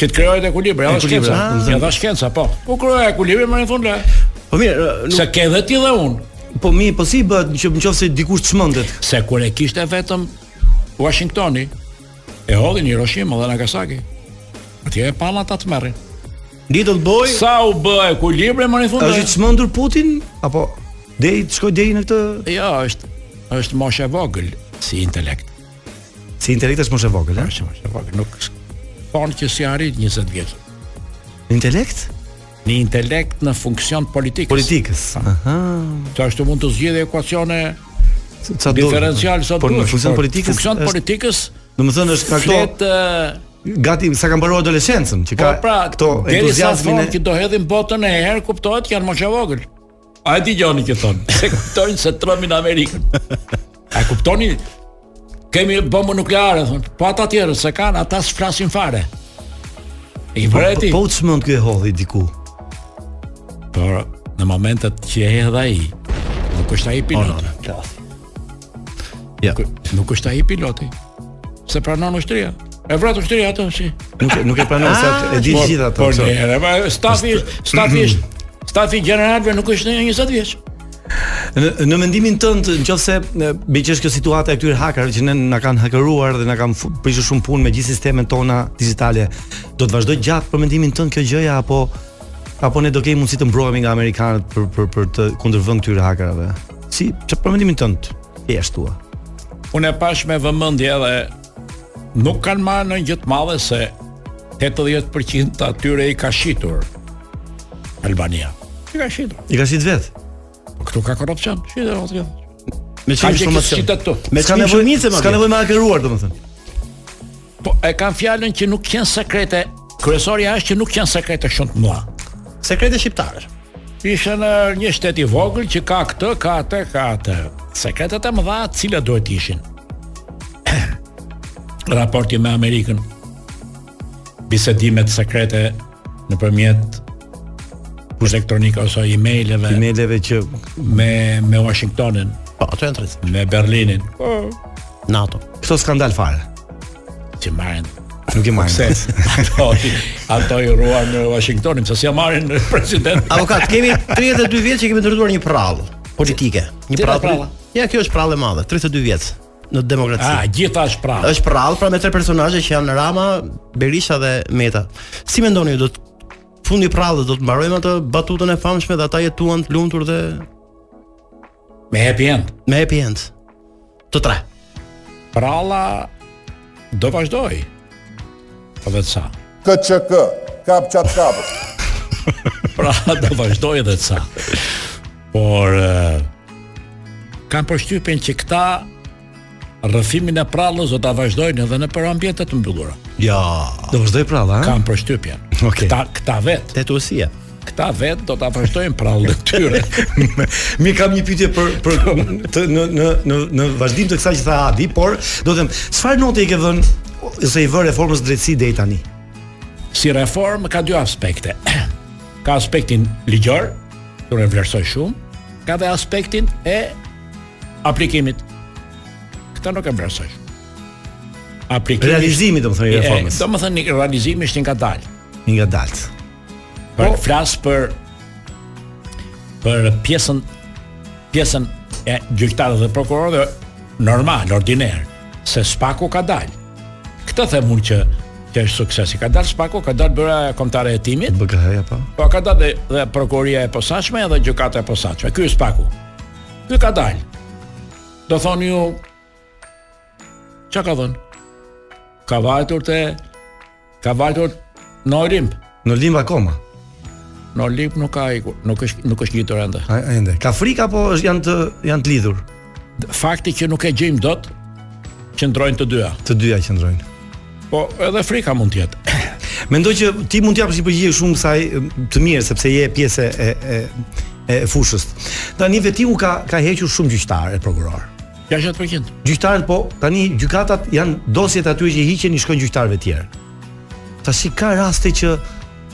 që të krijohet ekuilibri, ja
Ekuilibri,
shkenca.
ah,
Ja dha shkenca, po. Po krijohet ekuilibri më në fund le.
Po mirë, ë, nuk
Se ke edhe ti dhe unë.
Po mi, po si bëhet që nëse dikush çmendet?
Se kur e kishte vetëm Washingtoni, e hodhin Hiroshima dhe Nagasaki. Atje e pan ata të merrin.
Little Boy
Sa u bë ekuilibri më në fund?
Është i çmendur Putin apo deri të shkoj deri në këtë
Jo, është është moshë e vogël si intelekt.
si intelekt është më shumë e vogël, a?
Është moshë e vogël, nuk thonë që si arrit 20 vjeç.
Intelekt?
Në intelekt në funksion politikës.
Politikës. Aha.
Që ashtu mund të zgjidhë ekuacione
Sa do.
diferencial sa
Por në
duash,
funksion
por
politikës.
Funksion
është-
politikës
Domethënë është nga
flet
këto
ë,
gati sa ka mbaruar adoleshencën, që ka
Po pra,
këto
deri sa
entuziazmin
thonë
e
që do hedhin botën e herë, kuptohet që janë më e vogël. A e dëgjoni që thonë, se kuptojnë se Trumpi në Amerikën. A kuptoni? Kemi bombën nukleare, thonë. Po ata tjerë se kanë, ata s'flasin fare. I vreti.
Po u çmend ky e hodhi diku.
Por në momentet që e hedh ai, nuk është ai
Po,
piloti.
Ja.
Nuk- Nuk është ai piloti. Se pranon ushtria. E vrat ushtria atë si.
Nuk e- nuk e pranoj se atë- e di
Por-
gjithë ato.
Por
so. Mm-hmm.
ne, ma stafi, është- stafi, është- stafi i gjeneralëve nuk është në 20 vjeç.
Në, në mendimin tënd, nëse me që është kjo situata e këtyre hakerëve që ne na kanë hakeruar dhe na kanë fu- prishur shumë punë me gjithë sistemet tona digjitale, do të vazhdoj gjatë për mendimin tënd kjo gjëja apo apo ne do kemi mundësi të mbrohemi nga amerikanët për për për të kundërvën këtyre hakerave? Si çfarë për mendimin tënd? Thjesht tua.
Unë e pash me vëmendje edhe nuk kanë marrë në gjë të madhe se 80% të atyre i ka shitur Albania. I ka shitur.
I ka shit vet.
Po këtu ka korrupsion. Shitur atje.
Me
Ka që
çfarë
kështë
informacion?
qitë ato.
Me
S'ka
çfarë
nevojë,
shumicë më?
s'ka nevojë me hakeruar domethënë.
Po e kanë fjalën që nuk janë sekrete. Kryesorja është që nuk janë sekrete shumë të mëdha.
Sekrete shqiptare.
Ishte në një shtet i vogël që ka këtë, ka atë, ka atë. Sekretet e mëdha të cilat duhet ishin. Raporti me Amerikën. Bisedimet sekrete nëpërmjet elektronika ose emaileve
Emaileve që
me me Washingtonin,
Po, ato janë tërësi.
me Berlinin,
NATO.
këto skandal fare.
që marrin
Nuk i marrin.
se ato ato i ruan në Washingtonin, pse s'ia marrin në president.
Avokat, kemi 32 vjet që kemi ndërtuar një prallë politike. Një
Tira
prallë.
pralla.
politi- Ja, kjo është prallë e madhe, 32 vjet në demokraci.
Ah, gjithash pra.
Është prallë pra me tre personazhe që janë Rama, Berisha dhe Meta. Si mendoni ju do të fundi i prallës do të mbarojmë atë batutën e famshme dhe ata jetuan të lumtur dhe
Me happy end.
me happy end? Të tre.
Pralla do vazhdoj. Po vetë sa.
KÇK, kap çat kap.
Pralla Pra, do vazhdoj edhe të sa. Por eh, kam përshtypjen që këta rrëfimin e prallës do ta vazhdojnë edhe në përambjete të mbyllura.
Ja,
Do vazhdoj prallë, ha?
Kam përshtypjen.
Okej.
Këta këta vet,
tetuesia.
këta vet do ta vazhdojnë prallën e tyre.
Mi kam një pyetje për për të, në në në në vazhdim të kësaj që tha Adi, por do të them, çfarë note i ke vënë ose i vë reformës drejtësi deri tani?
si reform ka dy aspekte. Ka aspektin ligjor, që unë e vlerësoj shumë, ka dhe aspektin e aplikimit. Këtë nuk e vlerësoj. shumë. Aplikimi
Realizimi domethënë i reformës.
Do më thënë realizimi është një ngadalë.
Një nga dalt.
Për flas për për pjesën pjesën e gjyqtarëve dhe prokurorëve normal, ordiner, se Spaku ka dalë. Këtë them unë që që është suksesi. Ka dalë Spaku, ka dalë bëra kombëtare e hetimit,
BKH-ja po.
Po ka dalë dhe, dhe prokuria e posaçme edhe gjykata e posaçme. Ky është paku. Ky ka dalë. Do thoni ju çka ka dhënë? Ka vajtur te ka vajtur në Olimp.
Në limb akoma.
Në Olimp nuk ka ikur, nuk është nuk është ngjitur ende.
A- a Ende. Ka frikë apo është janë të janë të lidhur?
Fakti që nuk e gjejmë dot qëndrojnë të dyja.
Të dyja qëndrojnë.
Po edhe frika mund të jetë.
Mendoj që ti mund të japësh një përgjigje shumë kësaj të mirë sepse je pjesë e e e fushës. Tani vetiu ka ka hequr shumë gjyqtarë e prokuror.
60%.
Gjyqtarët po, tani gjykatat janë dosjet aty që i hiqen i shkojnë gjyqtarëve tjerë. Tash i ka raste që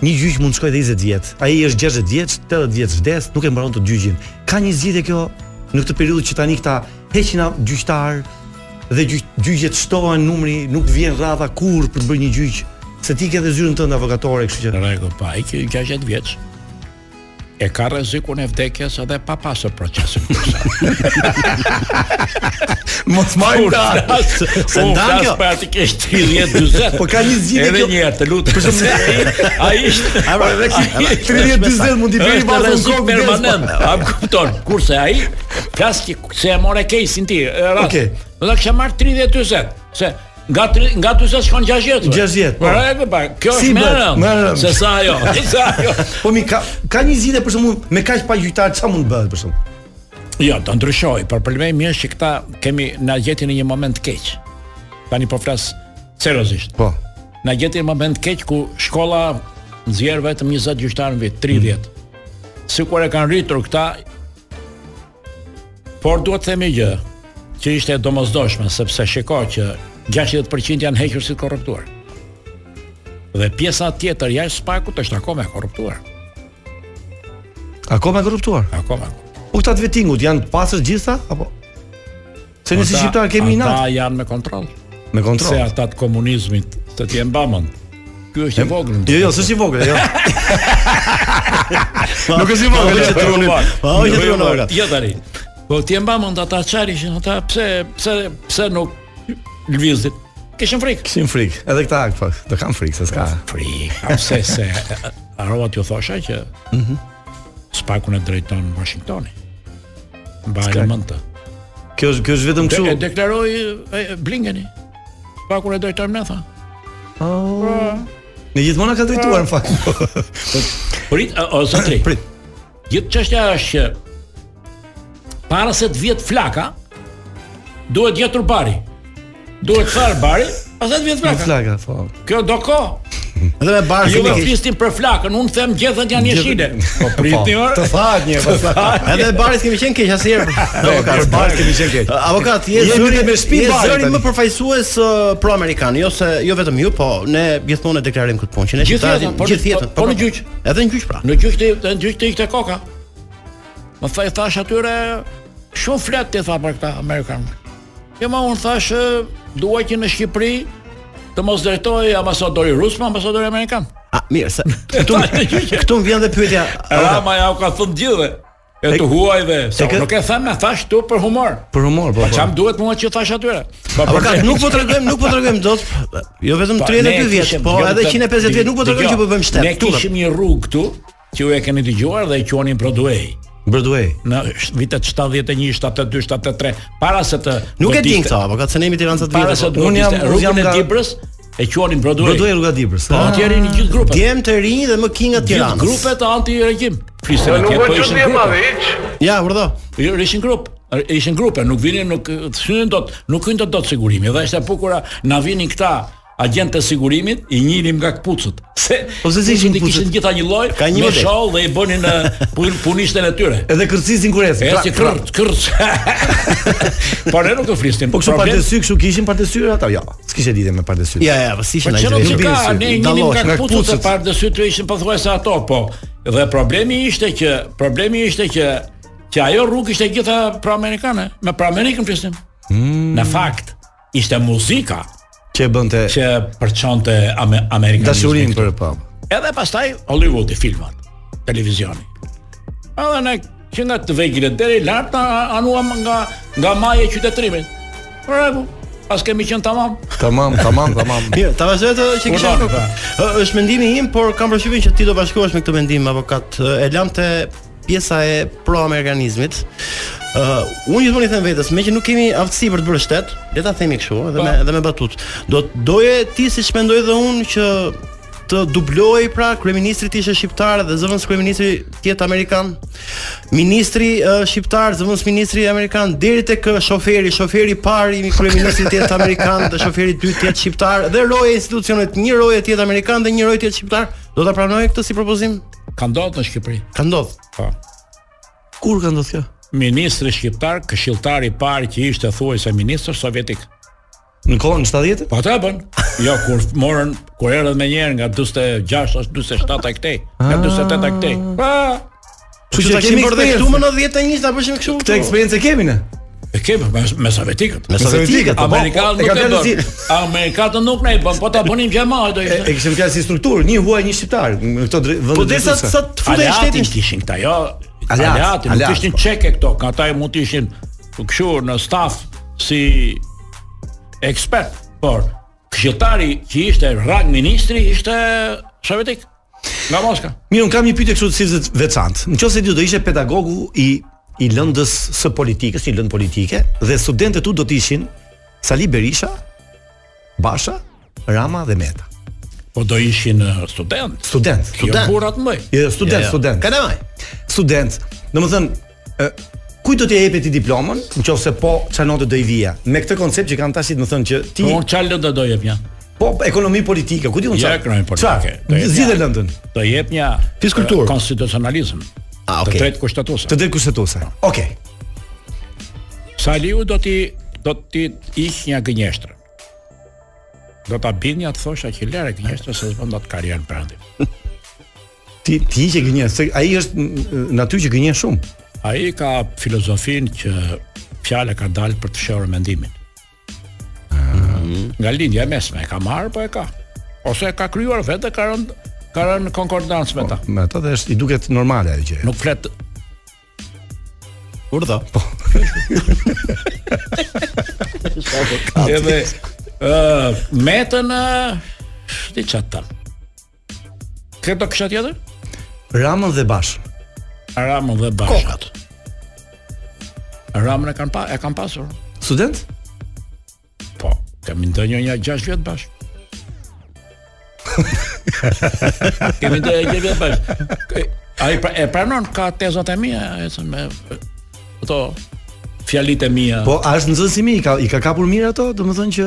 një gjyq mund të shkojë edhe 20 vjet. Ai është 60 vjeç, 80 vjeç vdes, nuk e mbaron të gjyqin. Ka një zgjidhje kjo në këtë periudhë që tani këta heqin a- gjyqtar dhe gjyq, gjyqet shtohen numri, nuk vjen rradha kurrë për të bërë një gjyq. Se ti ke dhe zyrën tënde avokatore, kështu që
Në rregull, pa ai që 60 vjeç e ka rrezikun e vdekjes edhe pa pasur procesin.
mos marr
Se
ndan kjo?
Praktikisht 30 40.
Po ka një zgjidhje
Edhe
kjo.
një herë të lutem. Për shembull, ai ishte
pra, edhe ky-
ai ishte-
30-40 mund t'i bëri
është
vazhdon
rrezik
kokë
permanent.
po.
A më kupton? Kurse ai flas që se e more kesin ti, e rast.
Okej.
Do ta kisha marr 30-40, se nga tri- nga 40 shkon 60.
60, po.
Po e pa. Kjo
Si
është më
bëhet? Më
rëndë.
rëndë.
Se sa ajo. Se ajo.
Po mi ka ka një zgjidhje për shkakun me kaq pa gjyqtar çfarë mund bëhet për shkakun?
Jo, do ndryshoj, por problemi është që këta kemi na gjeti në një moment keq. Tani po flas seriozisht.
Po.
na gjeti në moment keq ku shkolla nxjerr vetëm 20 gjyqtar në vit, 30.
Mm.
Sikur e kanë rritur këta por duhet të themi gjë që ishte e domosdoshme sepse shiko që 60% janë hequr si të korruptuar. Dhe pjesa tjetër jashtë spakut është akoma e korruptuar.
Akoma e korruptuar.
Akoma.
Po këta të vetingut janë të pastër gjithsa apo Se ne si
Ata-
shqiptar kemi
Ata
inat
janë me kontroll.
me
Se
kontroll.
ata të komunizmit të tjenë bamën. Ky është i vogël.
Jo, jo, s'është i vogël, jo. Nuk është i vogël që truni.
Po,
Po, që truni.
Jo tani. Po ti e mbamë nda ata çfarë ishin ata pse pse pse nuk lvizit. Kishin frikë.
Kishin frikë, edhe këta pak, do kam frikë se s'ka.
Frikë. A pse se Arova t'ju thosha që mhm Spakun e drejton Washingtoni. Mbajë mend të.
Kjo është kjo është vetëm
De,
kështu.
e deklaroi e, e, Blinkeni. Spakun e drejton ne tha.
Ne gjithmonë na ka drejtuar në
Po,
fakt.
Prit o, o zotri.
Prit.
Gjithë çështja është që para se të vjet flaka, duhet gjetur bari. Duhet thar bari, pastaj të vjet
Në
flaka.
flaka, po.
Kjo do ko.
Edhe me barë
Ju
si
më
keq.
flisni për flakën, unë them gjethët janë jeshile. Po pritni orë.
thaat një pas.
Edhe barës kemi qenë keq asnjëherë.
Për barë kemi qenë keq.
Avokat, je
Jemi
zëri
me shtëpi
je
barë,
zëri
tani.
më përfaqësues ë, pro-amerikan, jo se jo vetëm ju, po ne gjithmonë e deklarim këtë punë, që ne
Gjithë
shqiptarët
jetën,
jemi-
po në-
gjithë jetën,
po- po në gjyq.
Edhe në gjyq pra.
Në gjyqtë, në gjyqtë ishte koka. Më thaj thash atyre shumë flet ti tha për këta amerikanë. Jo ma unë thash "Ë, dua që në Shqipëri të mos drejtoj ambasadori rus, ma ambasadori amerikan.
A, mirë,
Po
se këtu këtu më vjen dhe pyetja. avokat,
Rama ja Pra, u ka thënë gjithë. E të huaj dhe se
e kë-
nuk e them, e thash tu për humor.
Për humor, po.
Pa
po.
çam duhet mua që thash atyre. Pa
Avokat, nuk po tregojmë, nuk po tregojmë dot, jo vetëm 32 vjet,
jo,
po edhe 150 vjet nuk po tregojmë që po bëjmë shtet.
Ne
Këtu dhe-
kishim një rrugë këtu që ju e keni dëgjuar dhe e quanin Broadway
Broadway.
në sh- vitet 71, 72, 73 para se të
Nuk e din
godiste-
këta, avokat, se ne jemi Tiranë sa të
po Para
vjetë,
se të
po.
Unë jam-
godiste rrugën
jam
e
nga-
Tibrës e quanin Broadway.
Broadway rruga e Dibrës.
Po atje rini gjithë grupet.
Djem të rinj dhe më kinga të
Gjithë
Tiranës.
grupet anti-regjim. Flisin atje, po ishin grupe.
Ja, urdhë.
Jo, ishin grup, ishin grupe, nuk vinin, nuk të hynin dot, nuk hyn dot dot sigurimi. Dhe ishte bukura na vinin këta agentë të sigurimit, i njihnim nga kputucët. Se
Po pse si ishin
kputucët? Kishin
kputucët?
gjitha një lloj,
Ka një
me
model.
sholl dhe i bënin ë, pun- punishten e tyre.
Edhe kërcisin kurrezë.
Eci kërc, kërc. Po ne nuk e flisnim.
Po kështu
Problem-
partesy, kështu kishin partesy ata, jo. S'kishte lidhje me partesy.
Ja, ja, po si
Po
ishin ai.
çfarë që
drejtë?
ka,
Rubin,
ne
si,
një
dallosh,
nga
nga
kputucët e
kputucët.
parë dësy të ishin pothuajse ato, po. Dhe problemi ishte që problemi ishte që që ajo rrugë ishte gjitha pro-amerikane, me pro-amerikën flisnim. Në fakt, ishte muzika
Që e bënte
që përçonte ame, amerikanizmin.
dashurin për po.
Edhe pastaj Hollywoodi filmat, televizioni. Edhe ne që nga të vegjile deri lart na anuam nga nga maja e qytetërimit. Për rregull, pas kemi qenë tamam.
Tamam, tamam, tamam.
Mirë, ta vazhdoj atë që kisha.
Urdhani, pra.
Ë, Është mendimi im, por kam përshtypjen që ti do bashkohesh me këtë mendim avokat. Ë, E lam te pjesa e pro-amerikanizmit. Ë, unë gjithmonë i them vetes, me që nuk kemi aftësi për të bërë shtet, le ta themi kështu, edhe me
Po.
edhe me batut. Do të doje ti siç mendoj dhe unë që të dubloj pra kryeministri ishte shqiptar dhe zëvendës kryeministri tjetë amerikan. Ministri uh, shqiptar, zëvendës ministri amerikan deri tek ë, shoferi, shoferi i parë i kryeministrit tjetë amerikan dhe shoferi i dytë tjetë shqiptar dhe roje e institucionet, një roje tjetë amerikan dhe një roje tjetë shqiptar. Do ta pranoje këtë si propozim?
Ka ndodhur në Shqipëri.
Ka ndodh.
Po.
Kur ka ndodhur kjo?
ministri shqiptar, këshilltar i parë që ishte thuajse ministër sovjetik.
Në kohën 70-të?
Po ata e bën. Jo kur morën, kur erdhën më njëherë nga 46 as 47 e këtej, nga 48 e këtej. Pa,
Kështu që ta kemi bërë dhe këtu më në 10 e 20 ta bëshim kështu.
Këtë eksperiencë e kemi ne.
e kemi me, me sovjetikët.
Me sovjetikët. po,
po,
Amerikanët
e
nuk
kam
e
fjalën
bën. Amerikanët nuk ne e bën, po ta bënim xhamal do
E, e
ishte.
kishim fjalë si strukturë, një huaj, një shqiptar në këto dre- vende.
Po desa
drejtuese.
sa të futej
Aleatin
shtetin.
kishin këta, jo.
Aleat,
Aleatin, nuk
aleat,
ishin
po.
çeke këto, ka ata mund të ishin kështu në staf si ekspert, por këshilltari që ishte rang ministri ishte sovjetik nga Moska.
Mirë, unë kam një pyetje kështu si të veçantë. Nëse ti do ishe pedagogu i i lëndës së politikës, i lëndë politike dhe studentët tu do të ishin Sali Berisha, Basha, Rama dhe Meta.
Po do ishin eh, student.
Student.
Jo burrat mëj.
Jo, student, student.
Kalamaj.
student. Domethënë, ë kujt do t'i jepet ti diplomën, nëse po çfarë note do i vija? Me këtë koncept që kam tash, do të thënë që ti
Po unë qalë do doje pja.
Po ekonomi politike, ku diun
Jo,
çfarë?
ekonomi politike. Do
Çfarë?
jetë
Zgjidhë
një-
lëndën.
Të jep një
Fiskultur.
e, konstitucionalizëm.
Ah,
Të
okay.
tretë kushtetuese.
Të drejtë kushtetuese. Okej.
Saliu do ti do ti iq një gënjeshtër. Do ta bind një të thosha që lere gënjeshtër se s'bën dot karrierë brendit.
Ti ti hiqe gënjen, se ai është n- natyrë që gënjen shumë.
Ai ka filozofinë që fjala ka dalë për të fshehur mendimin. Nga lindja e mesme e ka marrë po e ka. Ose e ka krijuar vetë ka rënë ka rënë në konkordancë me ta.
Me ato dhe është i duket normale ajo gjë.
Po.
Po.
Nuk flet
Urdhë.
edhe ë metën ë diçka ta. Këto kisha tjetër?
Ramën dhe Bash.
Ramën dhe Bashat. Ramën e kanë pa, e kanë pasur.
Student?
Po, kemi ndonjë një 6 vjet bash. kemi ndonjë 6 vjet bash. K- Ai pra, e pranon ka tezat e mia, e thon me ato fjalit e mia.
Po, a është nxënësi i ka i ka kapur mirë ato, domethënë që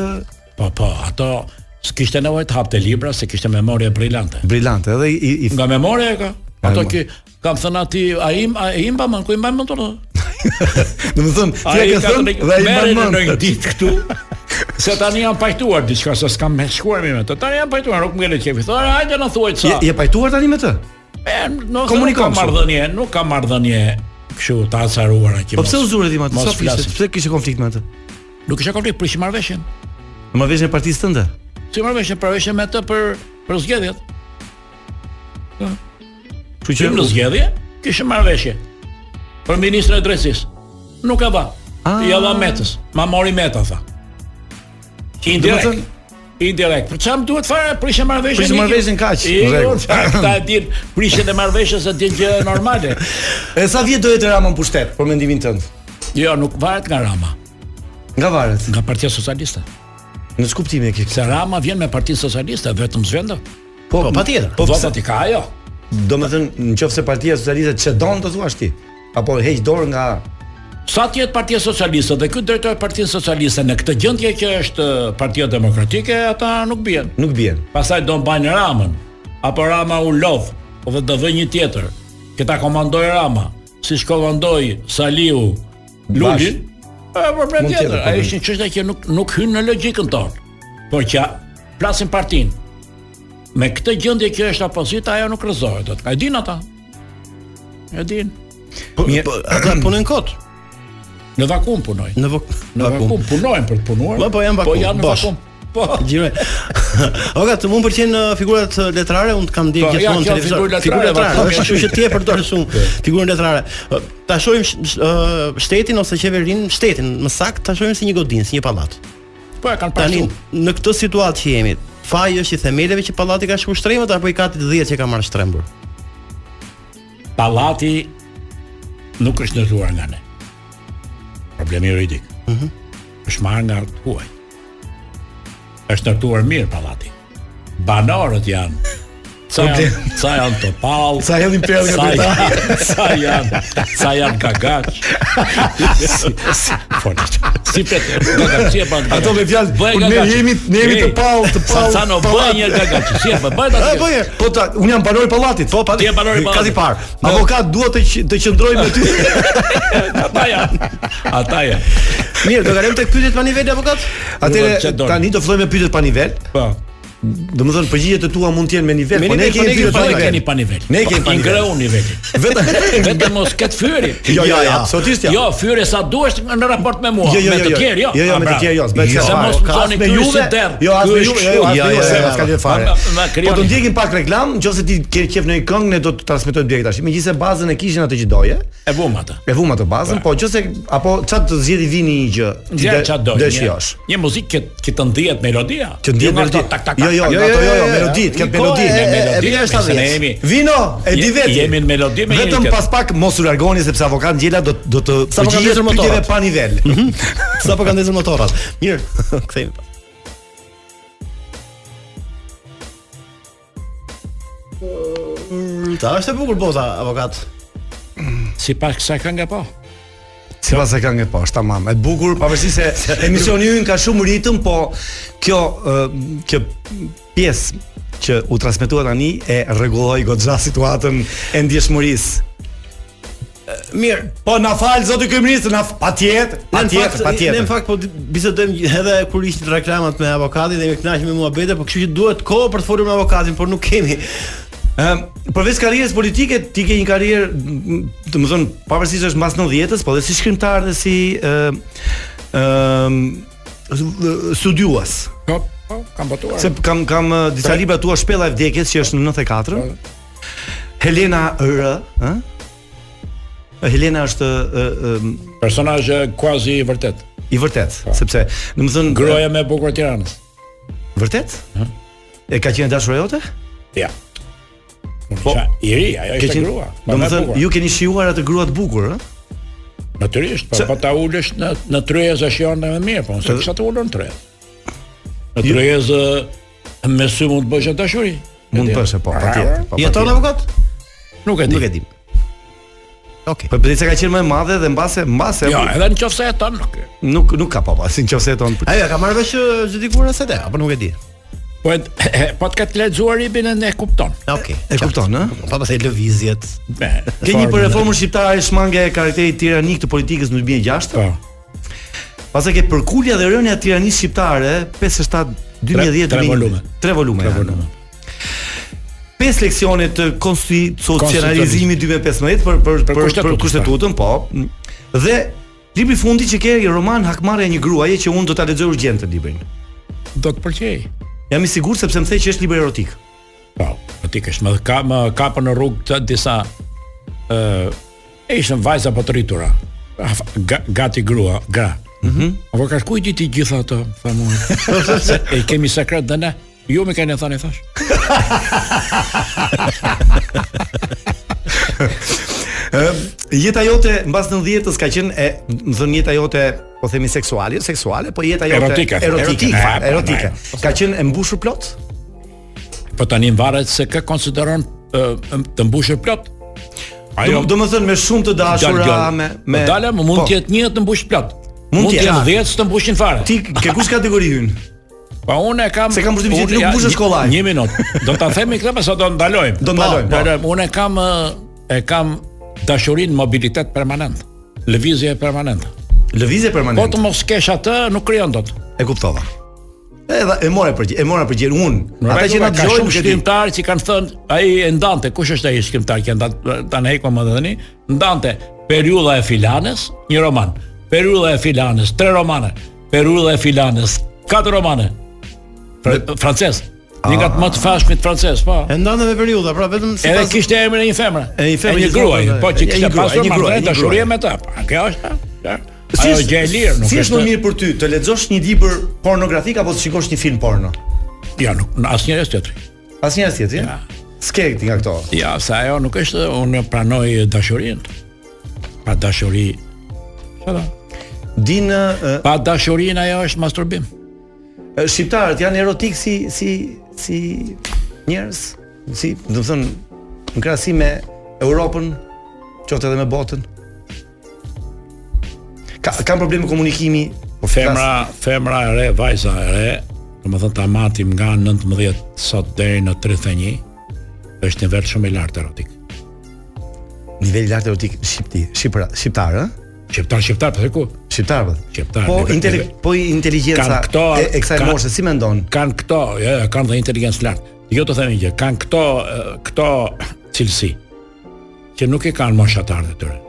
po, po ato s'kishte nevojë të hapte libra, se kishte memorie brillante.
brillante edhe i, i
Nga memoria e ka. Ato
Ai,
që kam thënë aty, ai im, ai im mban, ku im mban më tonë.
domethënë ti e ke
Ai ka
thënë
thënë
dhe ai
merre
mban
në një
mend.
ditë këtu. Se tani jam pajtuar diçka se s'kam me shkuar me të. Tani jam pajtuar, nuk më le qefi. Thora, hajde na thuaj
Je,
ça.
je pajtuar tani me të?
E,
Komunikon
nuk Komunikon
kështu.
ka marrëdhënie, nuk ka marrëdhënie kështu të acaruar që.
Po pse u zure ti më atë?
Mos
Sa kishte?
flasim.
Pse kishe konflikt me atë?
Nuk isha konflikt, prish marrëveshjen.
Në marrëveshjen e partisë tënde.
Si marrëveshje përveshje me të për për zgjedhjet.
Kështu
Që në
që
zgjedhje kishë marrëveshje. Për ministrin e drejtësisë. Nuk e dha.
Ah.
Ja dha Metës. Ma mori Meta tha.
Domethënë-
Indirekt. Indirekt. Për çfarë më duhet fare prishë marrëveshjen?
Prishë
ikim.
marrëveshjen kaq,
I,
në rregull.
Jo, Ta din prishën e marrëveshjes se din gjë normale.
e sa vjet do jetë Rama në pushtet, për mendimin tënd?
Jo, nuk varet nga Rama,
Nga varet.
nga Partia Socialiste.
Në ç'kuptimi e ke?
Se Rama vjen me Partinë Socialiste vetëm zvendo.
Po,
Po patjetër.
Po
Po pse?
votat i ka ajo.
Domethënë, nëse Partia Socialiste çedon të thuash ti, apo heq dorë nga
Sa të jetë Partia Socialiste dhe ky drejtori i Partisë Socialiste në këtë gjendje që është eh, Partia Demokratike, ata nuk bien.
nuk bien.
Pastaj do mbajnë Ramën, apo Rama u lodh, po dhe do vë një tjetër. Këta komandoi Rama, siç komandoi Saliu Lulin. Është problem
Mund
tjetër.
tjetër,
po,
Ai
problem.
është një çështje që nuk nuk hyn në logjikën tonë. Po që plasin partinë. Me këtë gjendje që është opozita, ajo nuk rrezohet dot. E din ata. E din.
Po,
Mirë.
po ata punojnë kot.
Në vakum punojnë.
Në vak-
Në vakum punojnë për të punuar.
Po, po, janë vakum,
Po janë në
bosh.
vakum. Po.
Gjiroj. Oka, të mund pëlqen uh, figurat uh, letrare, unë të kam ndjek
Po, ja,
gjithmonë në
kjo
televizor.
figurë letrare, po. vazhdo,
letrare, është kështu që ti e përdor shumë figurën letrare. Uh, Ta shohim sh- sh- uh, shtetin ose qeverinë, shtetin më saktë, ta shohim si një godinë, si një pallat.
Po e kanë
Tani
pasur.
në këtë situatë që jemi, faji është i themeleve që pallati ka shku shtrembët apo i ka të 10 që ka marrë shtrembur.
Pallati nuk është ndërtuar nga ne. Problemi juridik. Mhm. Është marrë nga huaj. Është ndërtuar mirë pallati. Banorët janë Sa janë, sa janë të pallë
Sa hedhin perë nga
sa
drita.
janë, sa janë, sa janë kagaç. si, si, fona. Si pret, kagaç e bën.
Ato me fjalë, unë ne jemi- ne jemi të pallë, të pallë,
Sa no bëj
pallati.
një kagaç. Si e bën? Bëj
A po
atë.
je? Po ta, un jam banor i pallatit. Po,
Ti je banor i pallatit.
Ka ti parë. Avokat dua të q- të qëndroj me ty.
Ata janë. Ata janë.
Mirë, do kalojmë tek pyetjet pa nivel avokat?
Nuk
Atëre
vazhdo.
tani do fillojmë me pyetjet pa nivel.
Po.
Domethënë përgjigjet e tua mund të jenë me nivel,
Me
po ne
nivel, po ne
kemi
kemi
pyetje
Po
pa
ne
nivel.
keni pa nivel.
Ne kemi pa
I
nivel.
ngreu nivelin.
Vetëm
Vetëm mos ket fyri.
Jo, jo, jo, absolutisht jo.
Jo, fyri sa duhesh në raport me mua.
Jo, jo,
me
jo,
të
jo.
tjerë, jo.
Jo, jo,
A,
me të
bravo.
tjerë, jo, s'bëhet
Se
fare.
mos
Ka
më
as
zoni
me
këtu
Juve,
si derr.
jo, as
Ky
me
është
Juve,
kështu.
jo, as me Juve,
jo,
se
jo,
mos ka lidhje fare.
Ma- ma
Po
krijoni.
do ndjekim pak reklam, nëse ti ke qef në një këngë ne do të transmetojmë direkt tash. Megjithëse bazën e kishin atë që doje,
E vum atë.
e vum atë bazën, po nëse apo çat të zgjidhi vini një gjë. ti
Pra. Gjë
de-
çfarë do.
Dëshirosh.
Një muzikë që që të ndihet melodia.
Që ndihet
Jo nga
melodia.
ato tak, tak,
Jo,
tak,
jo, nga
tak.
ato jo, jo, melodit,
Një
këtë
kohë
melodi.
e-
Me
e-
melodi,
e bile
me
është
se ne
70.
jemi.
Vino, e di
Je-
vetë.
jemi në melodi me
vetëm
njëri
pas pak mos u largoni sepse avokat Gjela do do të
Sa po kanë
përgjigjet
ndezur motorat.
pyetjeve pa nivel.
Sa po kanë ndezur motorrat. Mirë, kthehemi. pas. Ta është e bukur bota, avokat.
Sipas kësaj këngë po.
Sipas e këngës po, është tamam. E bukur, pavarësisht se emisioni ynë ka shumë ritëm, po kjo ë, kjo pjesë që u transmetua tani e rregulloi goxha situatën e ndjeshmërisë.
Mirë,
Po na fal zoti kryeminist, na f- patjetër,
Ne në
patjetër,
fakt- Ne në
patjetër.
fakt po bisedojmë edhe kur ishin reklamat me avokatin dhe me kënaqemi me muhabete, por kështu që duhet kohë për të folur me avokatin, por nuk kemi.
Ëm, përveç karrierës politike, ti ke një karrierë, m, të më thënë, pavarësisht është mbas 90-s, po dhe si shkrimtar dhe si ë ë studiuas.
Po, po, kam botuar.
Se kam kam uh, disa libra tua shpella e vdekjes që është në 94. Helena R, ë? Helena është ë, ë,
Personazhe quasi i vërtet.
i vërtet, sepse domethënë
Groja me bukur e Tiranës.
vërtet? E ka qenë dashura jote?
Ja.
Po,
Po, i ri, ajo
Ke
ishte
qenë-
grua. po, me
Domethënë jo,
bukur.
ju keni shijuar atë grua të bukur, ë?
Natyrisht, po pa ta ulësh në në tryezë është janë më mirë, po se kisha të ulur në tryezë.
Jo.
Në tryezë me sy mund të bësh dashuri.
Mund të bësh, po, patjetër, po.
Jeton
patjetër.
avokat?
Nuk e di.
Nuk e di.
Okej.
Po bëhet se ka qenë më e madhe dhe mbase mbase
Jo, edhe në qoftë se jeton nuk.
nuk nuk ka papa, si nëse jeton.
Ajo e ka marrë vesh çdo dikur në CD, apo nuk e di.
Po et- po të ketë lexuar ibin e ne kupton.
Okej.
E kupton, ë?
Pa pastaj lëvizjet.
Me-
Ke një për
formën e-
reformën shqiptare shmange e karakterit tiranik të politikës në 2006.
Po.
Pastaj ke përkulja dhe rënja e tiranisë shqiptare 57 2010
Tre- tre volume.
3 volume.
Tre
janë.
volume.
Pesë leksione të konstitucionalizimit 2015 për për për, për,
kushtetutën,
kushtetutën, po. Dhe libri i fundit që ke i roman Hakmarrja e një gruaje që unë do ta lexoj urgjent të librin.
Do të pëlqej.
Jam i sigurt sepse më the që është libër erotik.
Po, aty kesh më ka më kapën në rrugë të disa ë e ishën vajza po të rritura. Af- ga- Gati grua, gra. Mhm. Apo ka shkuj ditë i gjitha ato, tha mua. Se e kemi sekret dhe ne. Ju më kanë thënë thash.
Ë, jeta jote mbas 90-s ka qenë e, më thënë jeta jote, po themi seksuale, jo seksuale, po jeta jote
Erotike.
erotike,
Erotike.
fa- erotike.
Ne, po,
Ka qenë e mbushur plot?
Po tani varet se kë konsideron ë, të mbushur plot.
Do, do më thënë me shumë të dashura,
gjallë.
me
me
me
dalë, më mund
Po,
të jetë një të mbush plot.
Mund
Mund të
t'jetë.
jetë 10 të mbushin fare.
Ti ke kush kategori hyn?
Pa unë e kam
Se kam përshtypjen që
unë-
ti nuk
ja,
mbushesh
një-
kollaj.
Një minutë. Do ta themi këtë pas do ndalojmë.
Do ndalojmë, po.
Unë e kam e e kam dashurinë mobilitet permanent. Lëvizje permanente.
Lëvizje
Po të
permanente.
mos kesh atë nuk krijon dot.
E kuptova. Edhe e more për e mora për gjë unë. Ata
Ata
që na
ka
dëgjojnë
shumë
që ti
shkrimtarë që kanë thënë ai e ndante, kush është ai shkrimtar që ndante tani hekom më tani? Ndante periudha e filanes, një roman. Periudha e filanes, tre romane. Periudha e filanes, katër romane. Fra, francez. Një
Ah.
nga të më të fashmit francez, po.
E ndande me periudha, pra vetëm
Edhe
sipas
kishte emrin e një femre.
E një femre,
një
një
gruaje,
femre,
po
e
që
një
kishte
gruaje,
pasur
një gruaje,
marrë
një
dashurie
gruaje.
me ta. Pa, Kjo është. ja.
Si
Ajo
është-
gjë e lirë, nuk
Si është më
është.
mirë për ty të lexosh një libër pornografik apo të shikosh një film porno?
Ja, nuk në asnjëherë është tjetri.
Asnjëherë tjetër.
Ja.
S'ke ti nga këto.
Ja, se ajo nuk është, unë pranoj dashurinë. Pa dashuri, çfarë?
Din ë,
Pa dashurinë ajo është masturbim.
shqiptarët janë erotik si si si njerëz, si do të thënë në krahasim me Europën, qoftë edhe me botën. Ka kanë probleme komunikimi, po
Femra, femra e re, vajza e re, domethënë ta matim nga 19 sot deri në 31 është një nivel shumë i lartë erotik.
flas niveli i lartë erotik shqipti, shqipra, shqiptar, ë?
Shqiptar, shqiptar, pse ku?
Shqiptar po.
Shqiptar,
Po
nivel-
intele,
nivel-
po inteligjenca
Kanë këto,
e, e kësaj
kanë-
moshe si mendon?
kanë këto, ja, ja, kanë dhe inteligjencë lartë. Jo të themi gjë, kanë këto eh, këto cilësi që nuk e kanë moshatarët e tyre.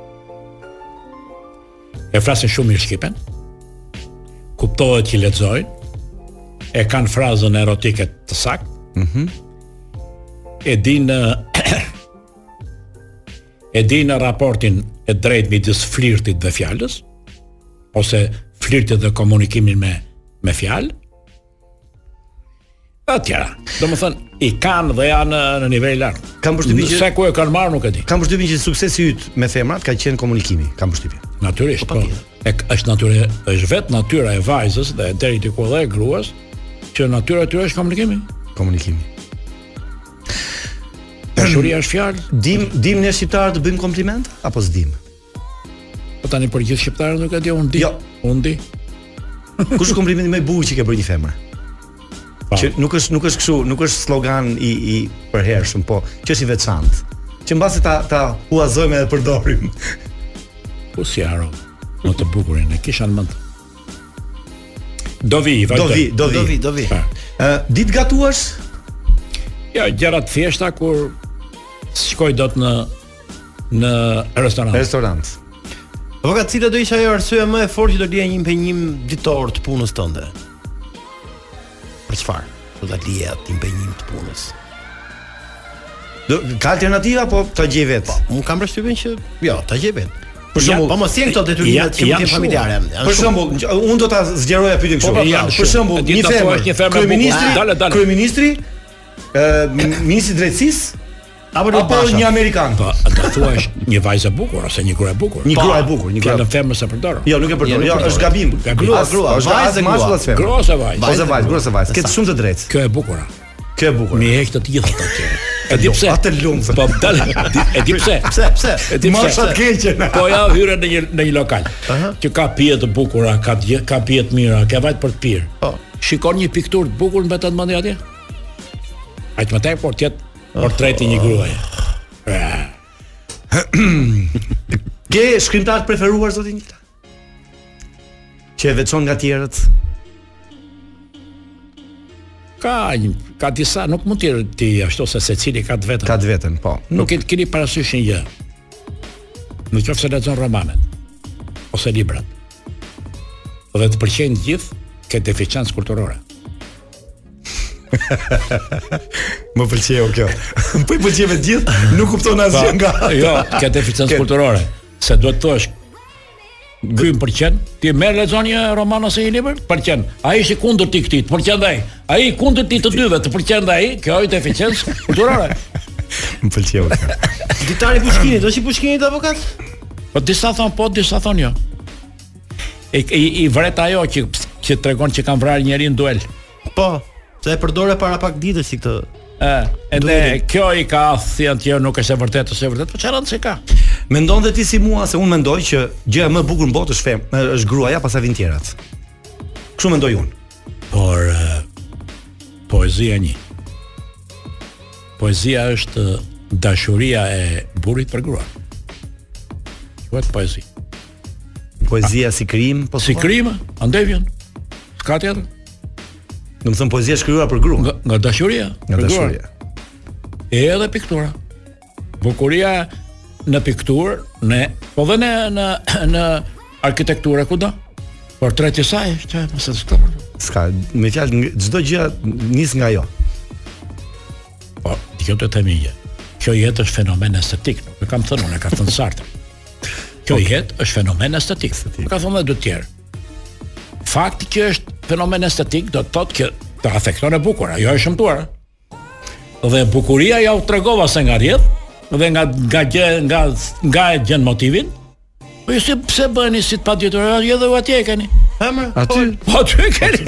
E flasin shumë mirë shqipen. Kuptohet që lexojnë. E kanë frazën erotike të saktë. Mhm. e dinë eh, e dinë raportin e drejtë midis flirtit dhe fjalës ose flirtit dhe komunikimin me me fjalë e tjera. Do më thënë, i kanë dhe janë në nivel lartë.
Kam përshtypjen që-
Se ku e kanë marrë nuk e di.
Kam përshtypjen që suksesi yt me femrat ka qenë komunikimi, kam përshtypjen.
Natyrisht, po. E k- është natyre, është vetë natyra e vajzës dhe deri diku edhe e gruas që natyra e tyre është komunikimi.
Komunikimi.
Dashuria është fjalë.
Dim dim ne shqiptarët të bëjmë kompliment apo s'dim?
Po tani për gjithë shqiptarët nuk e di, unë di.
Jo.
Unë di.
Kush është komplimenti më i bukur që ke bërë një femër?
Po,
Që nuk është nuk është kështu, nuk është slogan i i përhershëm, po që është i veçantë. Që mbasi ta ta huazojmë edhe përdorim.
Po si haro. Më të bukurin e kisha në mend. Do vi,
Do
vazhdoj.
vi, do vi.
Do vi, do vi.
Pa.
Ë, ditë gatuash?
Jo, gjëra të thjeshta kur shkoj dot në në restorant.
Restorant.
Po ka cila do isha ajo arsyeja më e fortë që do lija një impenjim ditor të punës tënde. Për çfarë? Do ta lija atë impenjim të punës.
Do, ka alternativa po ta gjej vetë.
Unë kam përshtypjen që jo, ta gjej vetë. Për
shembull-
po mos jenë këto
Ja-
detyrimet që mund
janë
të jenë
shumë.
familjare. janë
Për
shumë.
shembull, që- unë do ta zgjeroja pyetjen kështu.
Po, po, janë
për
shumë.
shembull,
E di,
një
ta thuash një
femër,
femër
kryeministri,
bukur. Dale, dale.
kryeministri, ë ministri i drejtësisë
Apo do
apo një amerikan.
Po, do thua është një vajzë e bukur ose një grua e bukur.
Një
Po,
grua e bukur, një grua-
Fjalën femër se përdor.
Jo, nuk e përdor.
nuk
Jo,
përdor.
është gabim.
Gabim.
As-
Grua,
Është
vajzë
as
e
mashkull
grua.
as femër.
Grua ose Jo, vajzë?
Ose vajzë, grua ose vajzë. Ke
Sa?
shumë të drejtë.
Kjo e bukura.
Kjo e bukur.
Mi e heq të gjitha ato tjera. E di pse.
Jo, Atë lumtë.
Po dal, di- e di pse.
Pse, pse?
E di pse.
Moshat keqen.
Po ja hyre në një në një lokal. Që ka pije të bukura, ka dje- ka pije të mira, ka vajt për të pirë.
Po.
Shikon një pikturë të bukur mbetet në mendje atje? Ai të më tek por tjetë portreti një gruaje.
Ke shkrimtar të preferuar zoti Nikita? Që e veçon nga tjerët.
Ka një, ka disa, nuk mund të ti ashtu se secili ka të vetën.
Ka të veten, po.
Nuk e të keni parasysh një gjë. Në qoftë se lexon romanet ose librat. Dhe të pëlqejnë të gjithë ke deficiencë kulturore.
Më pëlqeu kjo. Po i pëlqeve të gjithë, nuk kupton asgjë nga.
jo, ke deficiencë kulturore. Se duhet të thosh Ky më pëlqen, ti merr lexon një roman ose një libër, pëlqen. Ai është i kundërt i këtij, të pëlqen dhe ai. Ai i kundërt i të dyve, të pëlqen dhe ai. Kjo është deficiencë kulturore.
Më pëlqeu kjo.
ditari Pushkinit, do si Pushkinit avokat?
Po disa thon po, disa thon jo. I, i, i vret ajo që që tregon që kanë vrarë njërin në duel.
Po. Se e përdore para pak ditësh si këtë.
Ë, edhe
Duelit.
kjo i ka thënë që nuk është e vërtetë ose e vërtetë, po çfarë rëndësi ka?
Mendon dhe ti si mua se unë mendoj që gjëja më e bukur në botë është fem, është gruaja pastaj vin tjerat. Kështu mendoj unë.
Por ë, poezia një. Poezia është ë, dashuria e burrit për gruan. Quhet poezi.
Poezia si krim, po
Si krima, andaj vjen. S'ka tjetër.
do të thon poezia e shkruar për gruan.
Nga, nga dashuria.
Nga
për gruan.
dashuria.
E edhe piktura. Bukuria në pikturë, në po dhe në në në arkitekturë kudo. Portreti i saj është, mos e diskutoj.
S'ka, me fjalë ng- çdo gjë nis nga ajo.
Po, ti kjo të themi një. gjë. Kjo jetë është fenomen estetik, nuk e kam thënë unë, e ka thënë Sartre. Kjo jetë është fenomen estetik. Nuk ka thënë edhe të tjerë. Fakti që është fenomen estetik do të thotë që të afekton e bukur, ajo është shëmtuar. Dhe bukuria ja u tregova se nga rrjedh dhe nga nga gjë nga nga e gjen motivin. Po ju si pse bëheni si të padjetur? Jo, edhe u atje e keni.
Hëmë?
Aty
Po ty e keni.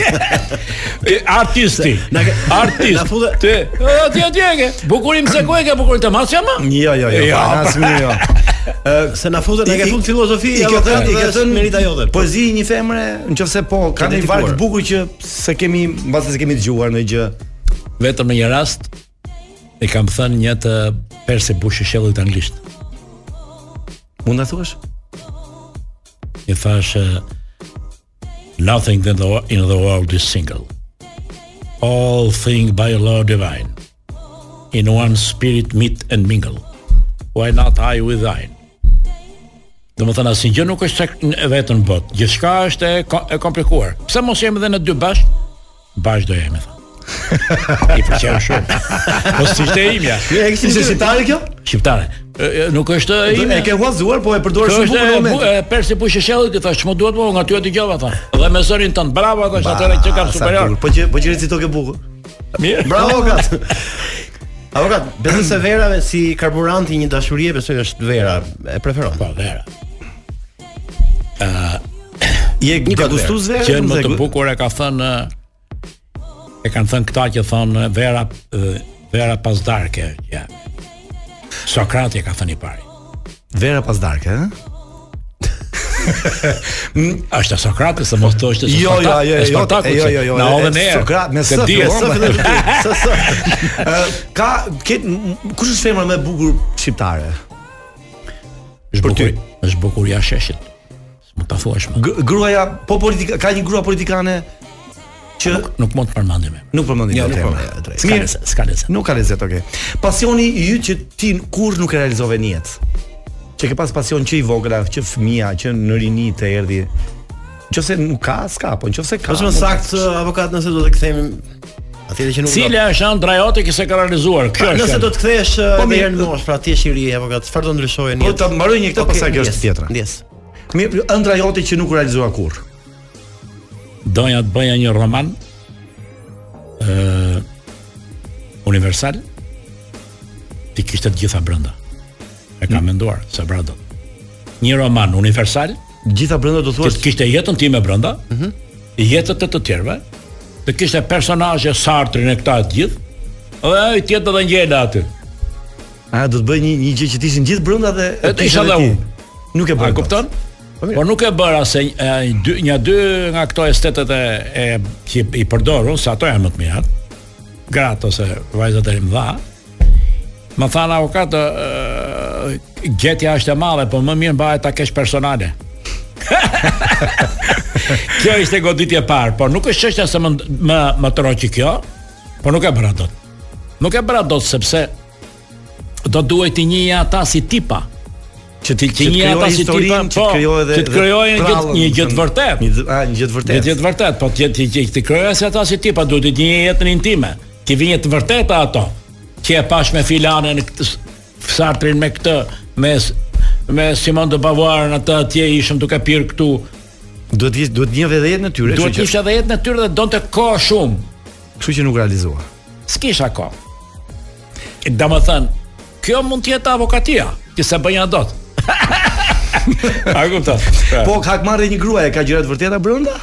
E, Artisti.
Na ke-
Artist.
na futë-
Ti. O, Ti atje e ke. Bukurim se ku e ke bukurin të masja më?
Jo, jo, jo,
Jo,
pa, në asnjë jo.
Se na futën, na
I-
ke
i-
fut filozofi,
I ke thënë, i ke
avokat,
thënë
merita jote. Po
Poezi një femre, nëse po ka
Ka
një
dedikuar.
varg të bukur që se kemi, mbase se kemi dëgjuar në gjë.
Vetëm në një rast e kam thënë një të Percy Bush i shëllit anglisht.
Mund ta thuash?
I thash eh, Nothing in the wo- in the world is single. All thing by a law divine. In one spirit meet and mingle. Why not I with thine? Do më thënë asë gjë nuk është tek- në- e vetën botë Gjithçka është e, ko- e komplikuar Pse mos jemi dhe në dy bashkë? Bashkë do jemi thënë I përqenë shumë Po si ishte e imja
E kishte ishte shqiptare kjo?
Shqiptare E, e, Nuk është e
E
imja
ke huazuar, po e përdor
Kjo
shumë
është
bukur në
e bu-
moment.
e Persi Pushë Shellët i thash, "Ç'mo duhet mua, nga ty e dëgjova tha." Dhe me zërin tënd, bravo thash, atëre që kam
Sa
superior.
bukur, Po që po që recito ke bukur.
Mirë.
bravo avokat. Avokat, besoj se verave si karburanti i një dashurie besoj është vera, e preferon.
Po, vera.
Je
Nikot
gustues verë?
Që më
dhe-
të bukur e ka thënë e kanë thënë këta që thonë vera e, vera pas darke, ja. Sokrati e ka thënë i pari.
eh? Vera pas darkë, ëh?
Është Sokrati, se mos thoshte se
Jo, jo,
Spartak-
jo,
e
jo,
Spartaku,
jo,
se
jo, jo.
Na
e,
hodhën erë.
Sokrat me
Se
s,
di,
me
o,
s
më-
fillon s, s. Ë, Ka ke m- kush është femra më e bukur shqiptare?
Është
Për ty.
bukur- Është bukuria e sheshit. S'mund ta thuash më.
Gr- gruaja po politika ka një grua politikane që
Nuk mund të përmendim. më.
nuk përmendim
Jo,
këtë
nuk
temë.
përmendim, e drejtë.
Mirë.
S'ka lezet, s'ka lezet.
Nuk ka lezet, okay. Pasioni i yt që ti kur nuk e realizove në jetë. Që ke pas pasion që i vogla, që fëmia, që në rini të erdhi. Nëse nuk ka, s'ka, po nëse ka.
Është më
nuk ka.
sakt avokat nëse do të kthehemi atëherë që nuk do.
Cila është anë drajote që se ka realizuar? Kjo është.
Nëse do të kthehesh
Po,
po
mirë.
mirë në mosh, pra ti je i ri avokat, çfarë do ndryshojë në
Po ta mbaroj një këtë,
Okej,
pastaj kjo
ndjes,
është tjetra.
Ndjes.
Mirë, ëndra jote që nuk u realizua kurrë.
doja të bëja një roman ë universal ti kishte të gjitha brenda. E
Hmm.
kam menduar se bra do. Një roman universal
Gjitha brenda do
që
thuash
të kishte jetën time brenda,
Mhm.
jetët e të tjerëve, të kishte personazhe Sartre në këta të gjithë, dhe ai tjetër do të ngjela aty.
A do të bëj një një gjë që të ishin gjithë brenda dhe
E, të isha
edhe
dhe
ti.
unë.
Nuk e
A
bëj.
kupton? Por nuk e bëra se e, dy, një dy nga këto estetet e, e që i përdorun, se ato janë më të mira. Gratë ose vajzat e mëdha. Më thanë avokat, ë, ë, gjetja është e madhe, por më mirë mbahet ta kesh personale. kjo ishte goditje e parë, por nuk është çështja se më më, më troqi kjo, por nuk e bëra dot. Nuk e bëra dot sepse do duhet të njëja ata si tipa
Që ti
që një ata si tipa,
që të
po,
krijojë edhe
që të krijojë një gjë- një gjë të vërtetë.
Një gjë- a, një gjë të
Dhe
vërtetë.
ti të vërtet, po ti ti ti ti kryoja se ata si tipa duhet të një jetën intime. Ti vjen të vërteta ato. Që e pash me filanën këtë s- Sartrin me këtë, me s- me Simon de Beauvoir atë atje ishëm duke pirë këtu.
Duhet të jesh- duhet një vetë jetën e tyre,
Duhet
kështu që.
ishte edhe jetë në tyrë dhe donte kohë shumë.
Kështu që nuk realizua.
S'kisha kohë. Do më thënë, kjo mund t'jetë avokatia, ti se bëjnë dot. A kupton?
Po ka marrë një gruaje, ka gjëra të vërteta brenda?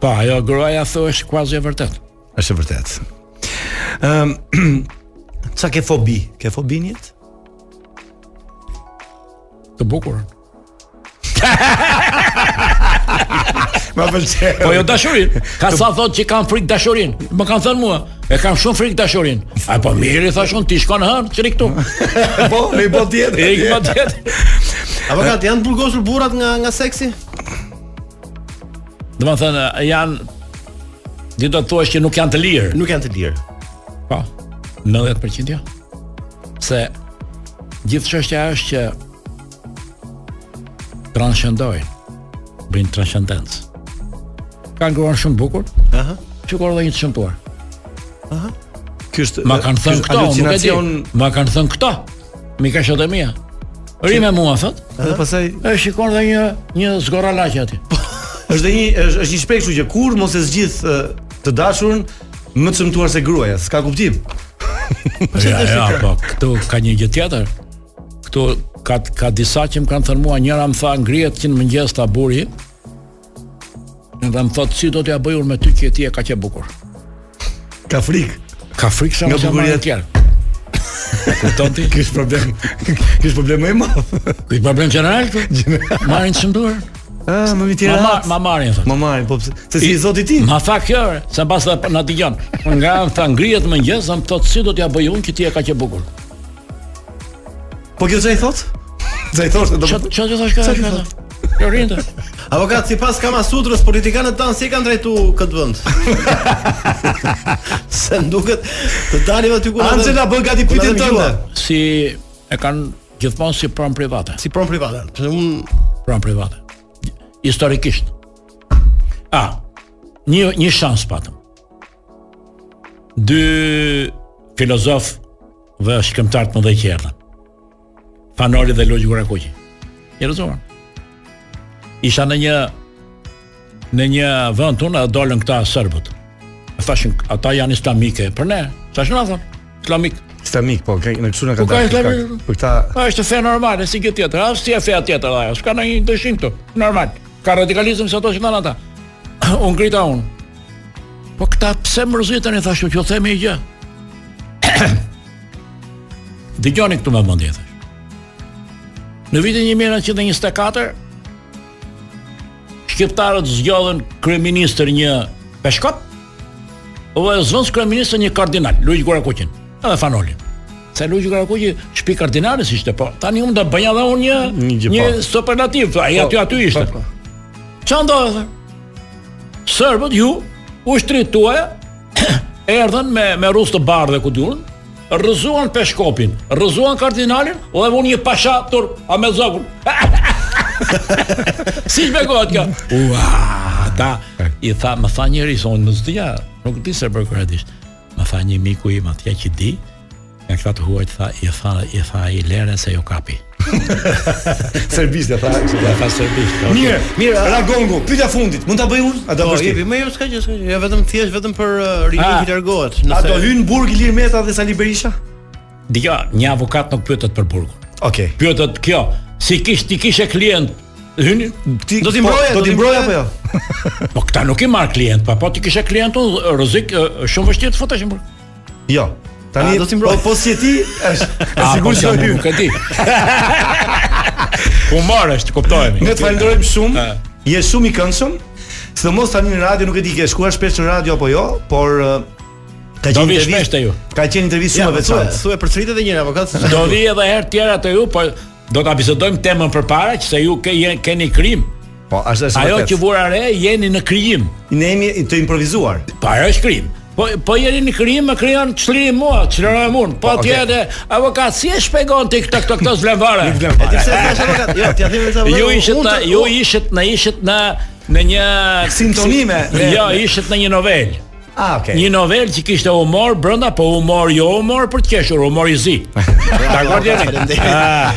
po, ajo gruaja thuhesh kuazi e vërtet.
Është e vërtetë. Ëm Qa Ehm, ke fobi? Ke fobi një jetë?
Të bukur.
Ma pëlqen.
Po jo dashurin. Ka sa thotë që kanë frikë dashurin. Më kanë thënë mua, e kam shumë frikë dashurin. A po mirë i thashun ti shkon hën, çri këtu.
po, me bot tjetër.
E ik më tjetër.
Avokat janë të burgosur burrat nga nga seksi?
Do të thënë janë Ti do të thuash që nuk janë të lirë.
Nuk janë të lirë.
Po. 90% jo. Se gjithë çështja është që transcendojnë, bëjnë transcendencë. Kanë gruan shumë bukur. Aha. Sikur dhe një të shëmtuar.
Ky është
Ma kanë thënë këto, nuk e di. Ma kanë thënë këto. Mika shoqë mia. Rime mua thot.
Edhe pastaj
E shikon dhe një një zgorralaç aty.
është dhe një është është një shpreh kështu që kur mos e zgjidh ë, të dashurën më të shëmtuar se gruaja, s'ka kuptim.
Ja, ja, po, këtu ka një gjë tjetër. Këtu ka ka disa që më kanë thënë mua, njëra më tha ngrihet që në mëngjes ta buri. Dhe më thotë si do t'ja bëj unë me ty që ti e ka qe bukur.
Ka frikë.
Ka frikë sa
Nga
më që
bukuria-
marrë e tjerë. E Kupton ti?
Kish problem. Kish problem më i madh.
Ky problem general këtu. Marrin të shëmtuar.
Ah, më mi
Ma
tira.
mar- ma marrin thotë.
Ma marrin, po pse- se si i zoti ti?
Ma tha kjo, ore, se mbas dhe na dëgjon. Nga më tha ngrihet mëngjes, dhe më thotë si do t'ja bëj unë që ti e ka qe bukur.
Po kjo çai thot? Çai thoshte do. po
Çfarë çfarë thash kjo?
Çfarë
Çfarë
thot?
thash? Jo rinte.
Avokat sipas Kama Sutrës politikanët tanë si e kanë drejtu këtë vend. Se më duket të dalim aty ku na-
Angela bën gati
ku na
pyetjen
dhe
tënde.
mjua.
Si e kanë gjithmonë si pron private.
Si pron private. Pse unë
pran private. Historikisht. A, një, një shans patëm. Dy filozof dhe shkrimtar të mëdhej që erdhën. Fanori dhe Logji Gurakuqi. Njerëzohen. Isha në një në një vend tonë dhe dolën këta serbët. E Thashin ata janë islamike. Për ne, thashin ata islamik.
Islamik po, ka në kështu na ka
Po, ka
dalë,
islamik.
ka- Për këtë
A është fe normale, si gjë tjetër, as si e fe tjetër ajo. S'ka ndonjë dëshim këtu. Normal. Ka radikalizëm se ato që kanë ata. U ngrita unë. Po këta pse mërziten i thashë që themi një gjë. Dëgjoni këtu me mendje. thash. Në vitin 1924 shqiptarët zgjodhin kryeministër një peshkop, dhe zënë kryeministër një kardinal, Luigi Gurakuqin, edhe Fanolin. Se Luigi Garakuqi shpi kardinalis ishte, po tani unë do bëja dhe unë
Një
një
gjë,
një
po.
superlativ, ai aty aty ishte.
po, po.
Çfarë ndodhi? tha? Serbët ju u shtrituaja, erdhën me me rrugë të bardhë ku diun, rrëzuan Peshkopin, rrëzuan kardinalin dhe unë një pasha tur a me zokun. si shpegohet kjo? Ua, ta i tha, më tha njëri se unë nuk dia, nuk di se për kroatisht. Më tha një miku im atje që di, nga këta të huaj të tha, i tha, i tha i lere se ju kapi.
Servisë tha.
Ja tha serbisht. okay.
Mirë, mirë, Ragongu, pyetja fundit, mund ta bëj unë? A do
Po,
bësh ti?
jepi, më jo s'ka gjë, s'ka gjë. Ja vetëm thjesht vetëm për uh,
Ah.
rini që largohet.
A do hyn Burg Ilir Meta dhe Sali Berisha?
Dija, një avokat nuk pyetet për burgun.
Okej.
Pyetet kjo, si kish ti kishe klient, hyni,
Ti-
Do t'i
po,
mbroje,
Do
do
ti
t'i
mbroje
mbroje.
apo jo?
po këta nuk i marr klient, pa po ti kishe klientun rrezik ë, shumë vështirë të futesh në burg.
Jo. Tani
A, do t'i mbroj.
Po, po si e ti? Është.
A, po,
Sigurisht
s'jam
do
unë,
hyn.
Nuk e di. Humor është, kuptohemi.
Ne të falenderojmë shumë.
Eh.
Je shumë i këndshëm. Sidomos tani në radio nuk e di ke shkuar shpesh në radio apo jo, por eh, ka
Do
qenë
vi
intervistë-
shpesh te ju.
Ka qenë intervistë shumë e veçantë.
Thuaj për çritet e një
po,
avokat.
Do vi edhe herë tjera te ju, po do ta bisedojmë temën përpara që se ju ke je- keni krim.
Po, është është
Ajo
vërtet.
që vura re jeni në krijim.
ne jemi të improvisuar.
Po ajo është krim. Po po jeni në krim, më krijon çlirim mua, çlirojmë unë.
Po,
Po atje
okay.
edhe avokat si e shpjegon ti këto këto këto zlevare?
E ti pse thash avokat? Jo, t'ia them vetë avokat.
Ju ishit
unë
në,
të-
ju
unë-
ishit në ishit në në një
Sintoni me-
Jo, ishit në një novel.
Ah, okay.
Një novel që kishte humor brenda, po humor jo humor për të qeshur, humor i zi. Dakor jeni? Ah,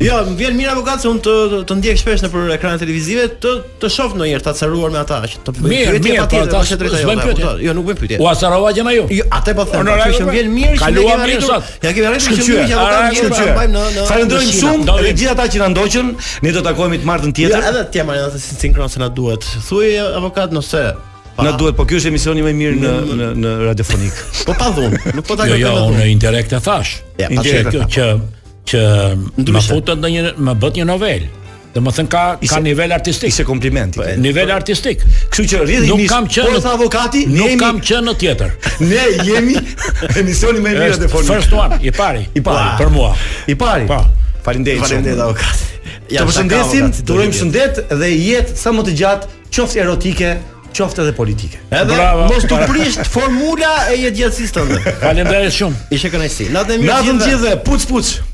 Jo, më vjen mirë avokat se unë të të- të ndjek shpesh nëpër ekranet televizive, të të shoh ndonjëherë ta caruar me ata që të bëjnë
Mirë,
pyetje
mirë,
patjetër,
po, ta-
është drejta
s'bëjmë
jote,
pyetje.
kupton? Jo, nuk bëjmë pyetje.
U asarova gjëna ju.
Jo, atë po them,
Honorari,
kështu që më vjen mirë që ne
kaluam
kemi
mirë
arritur.
sot.
Ja kemi arritur që mirë që avokat
Ara,
vjen që
pra,
shkëlqyer.
mbajmë në në.
Falenderojmë
në
shumë
Shqipëri.
Do
dhe
vi.
gjithë ata që na ndoqën, ne do takohemi të martën
Ja,
tjetër.
edhe ti jam ajo si sinkron se na duhet. Thuaj avokat nëse. pa-
Na duhet, po ky është emisioni më i mirë në në në radiofonik.
Po pa dhun, nuk po ta
Jo,
kërkoj
jo,
me dhun.
unë indirekt e thash.
Ja, pa
Indirekt
tjetër.
që që më
Ndryshe.
futët në një më bët një novel. Domethënë ka ka
Ishte-
nivel artistik.
Ishte kompliment. i them.
Nivel artistik.
Po, Kështu që
Nuk
rrjedhimisht,
kam qenë-
por tha avokati, ne
Nuk
jemi
kam qenë në tjetër.
ne jemi emisioni më i mirë
Është
radiofonik.
first one, i pari.
I pari.
Për mua.
I pari.
Po.
Faleminderit. shumë.
Faleminderit avokat. Ja,
Të përshëndesim,
avokat,
të urojmë
do
shëndet dhe jetë sa më të gjatë, qoftë erotike, qoftë edhe politike.
Edhe
Bravo.
mos të prisht formula e jetgjatësisë tënde.
Faleminderit shumë.
Ishte kënaqësi. Natën e mirë
Natën
gjithëve.
gjithë, puç puç.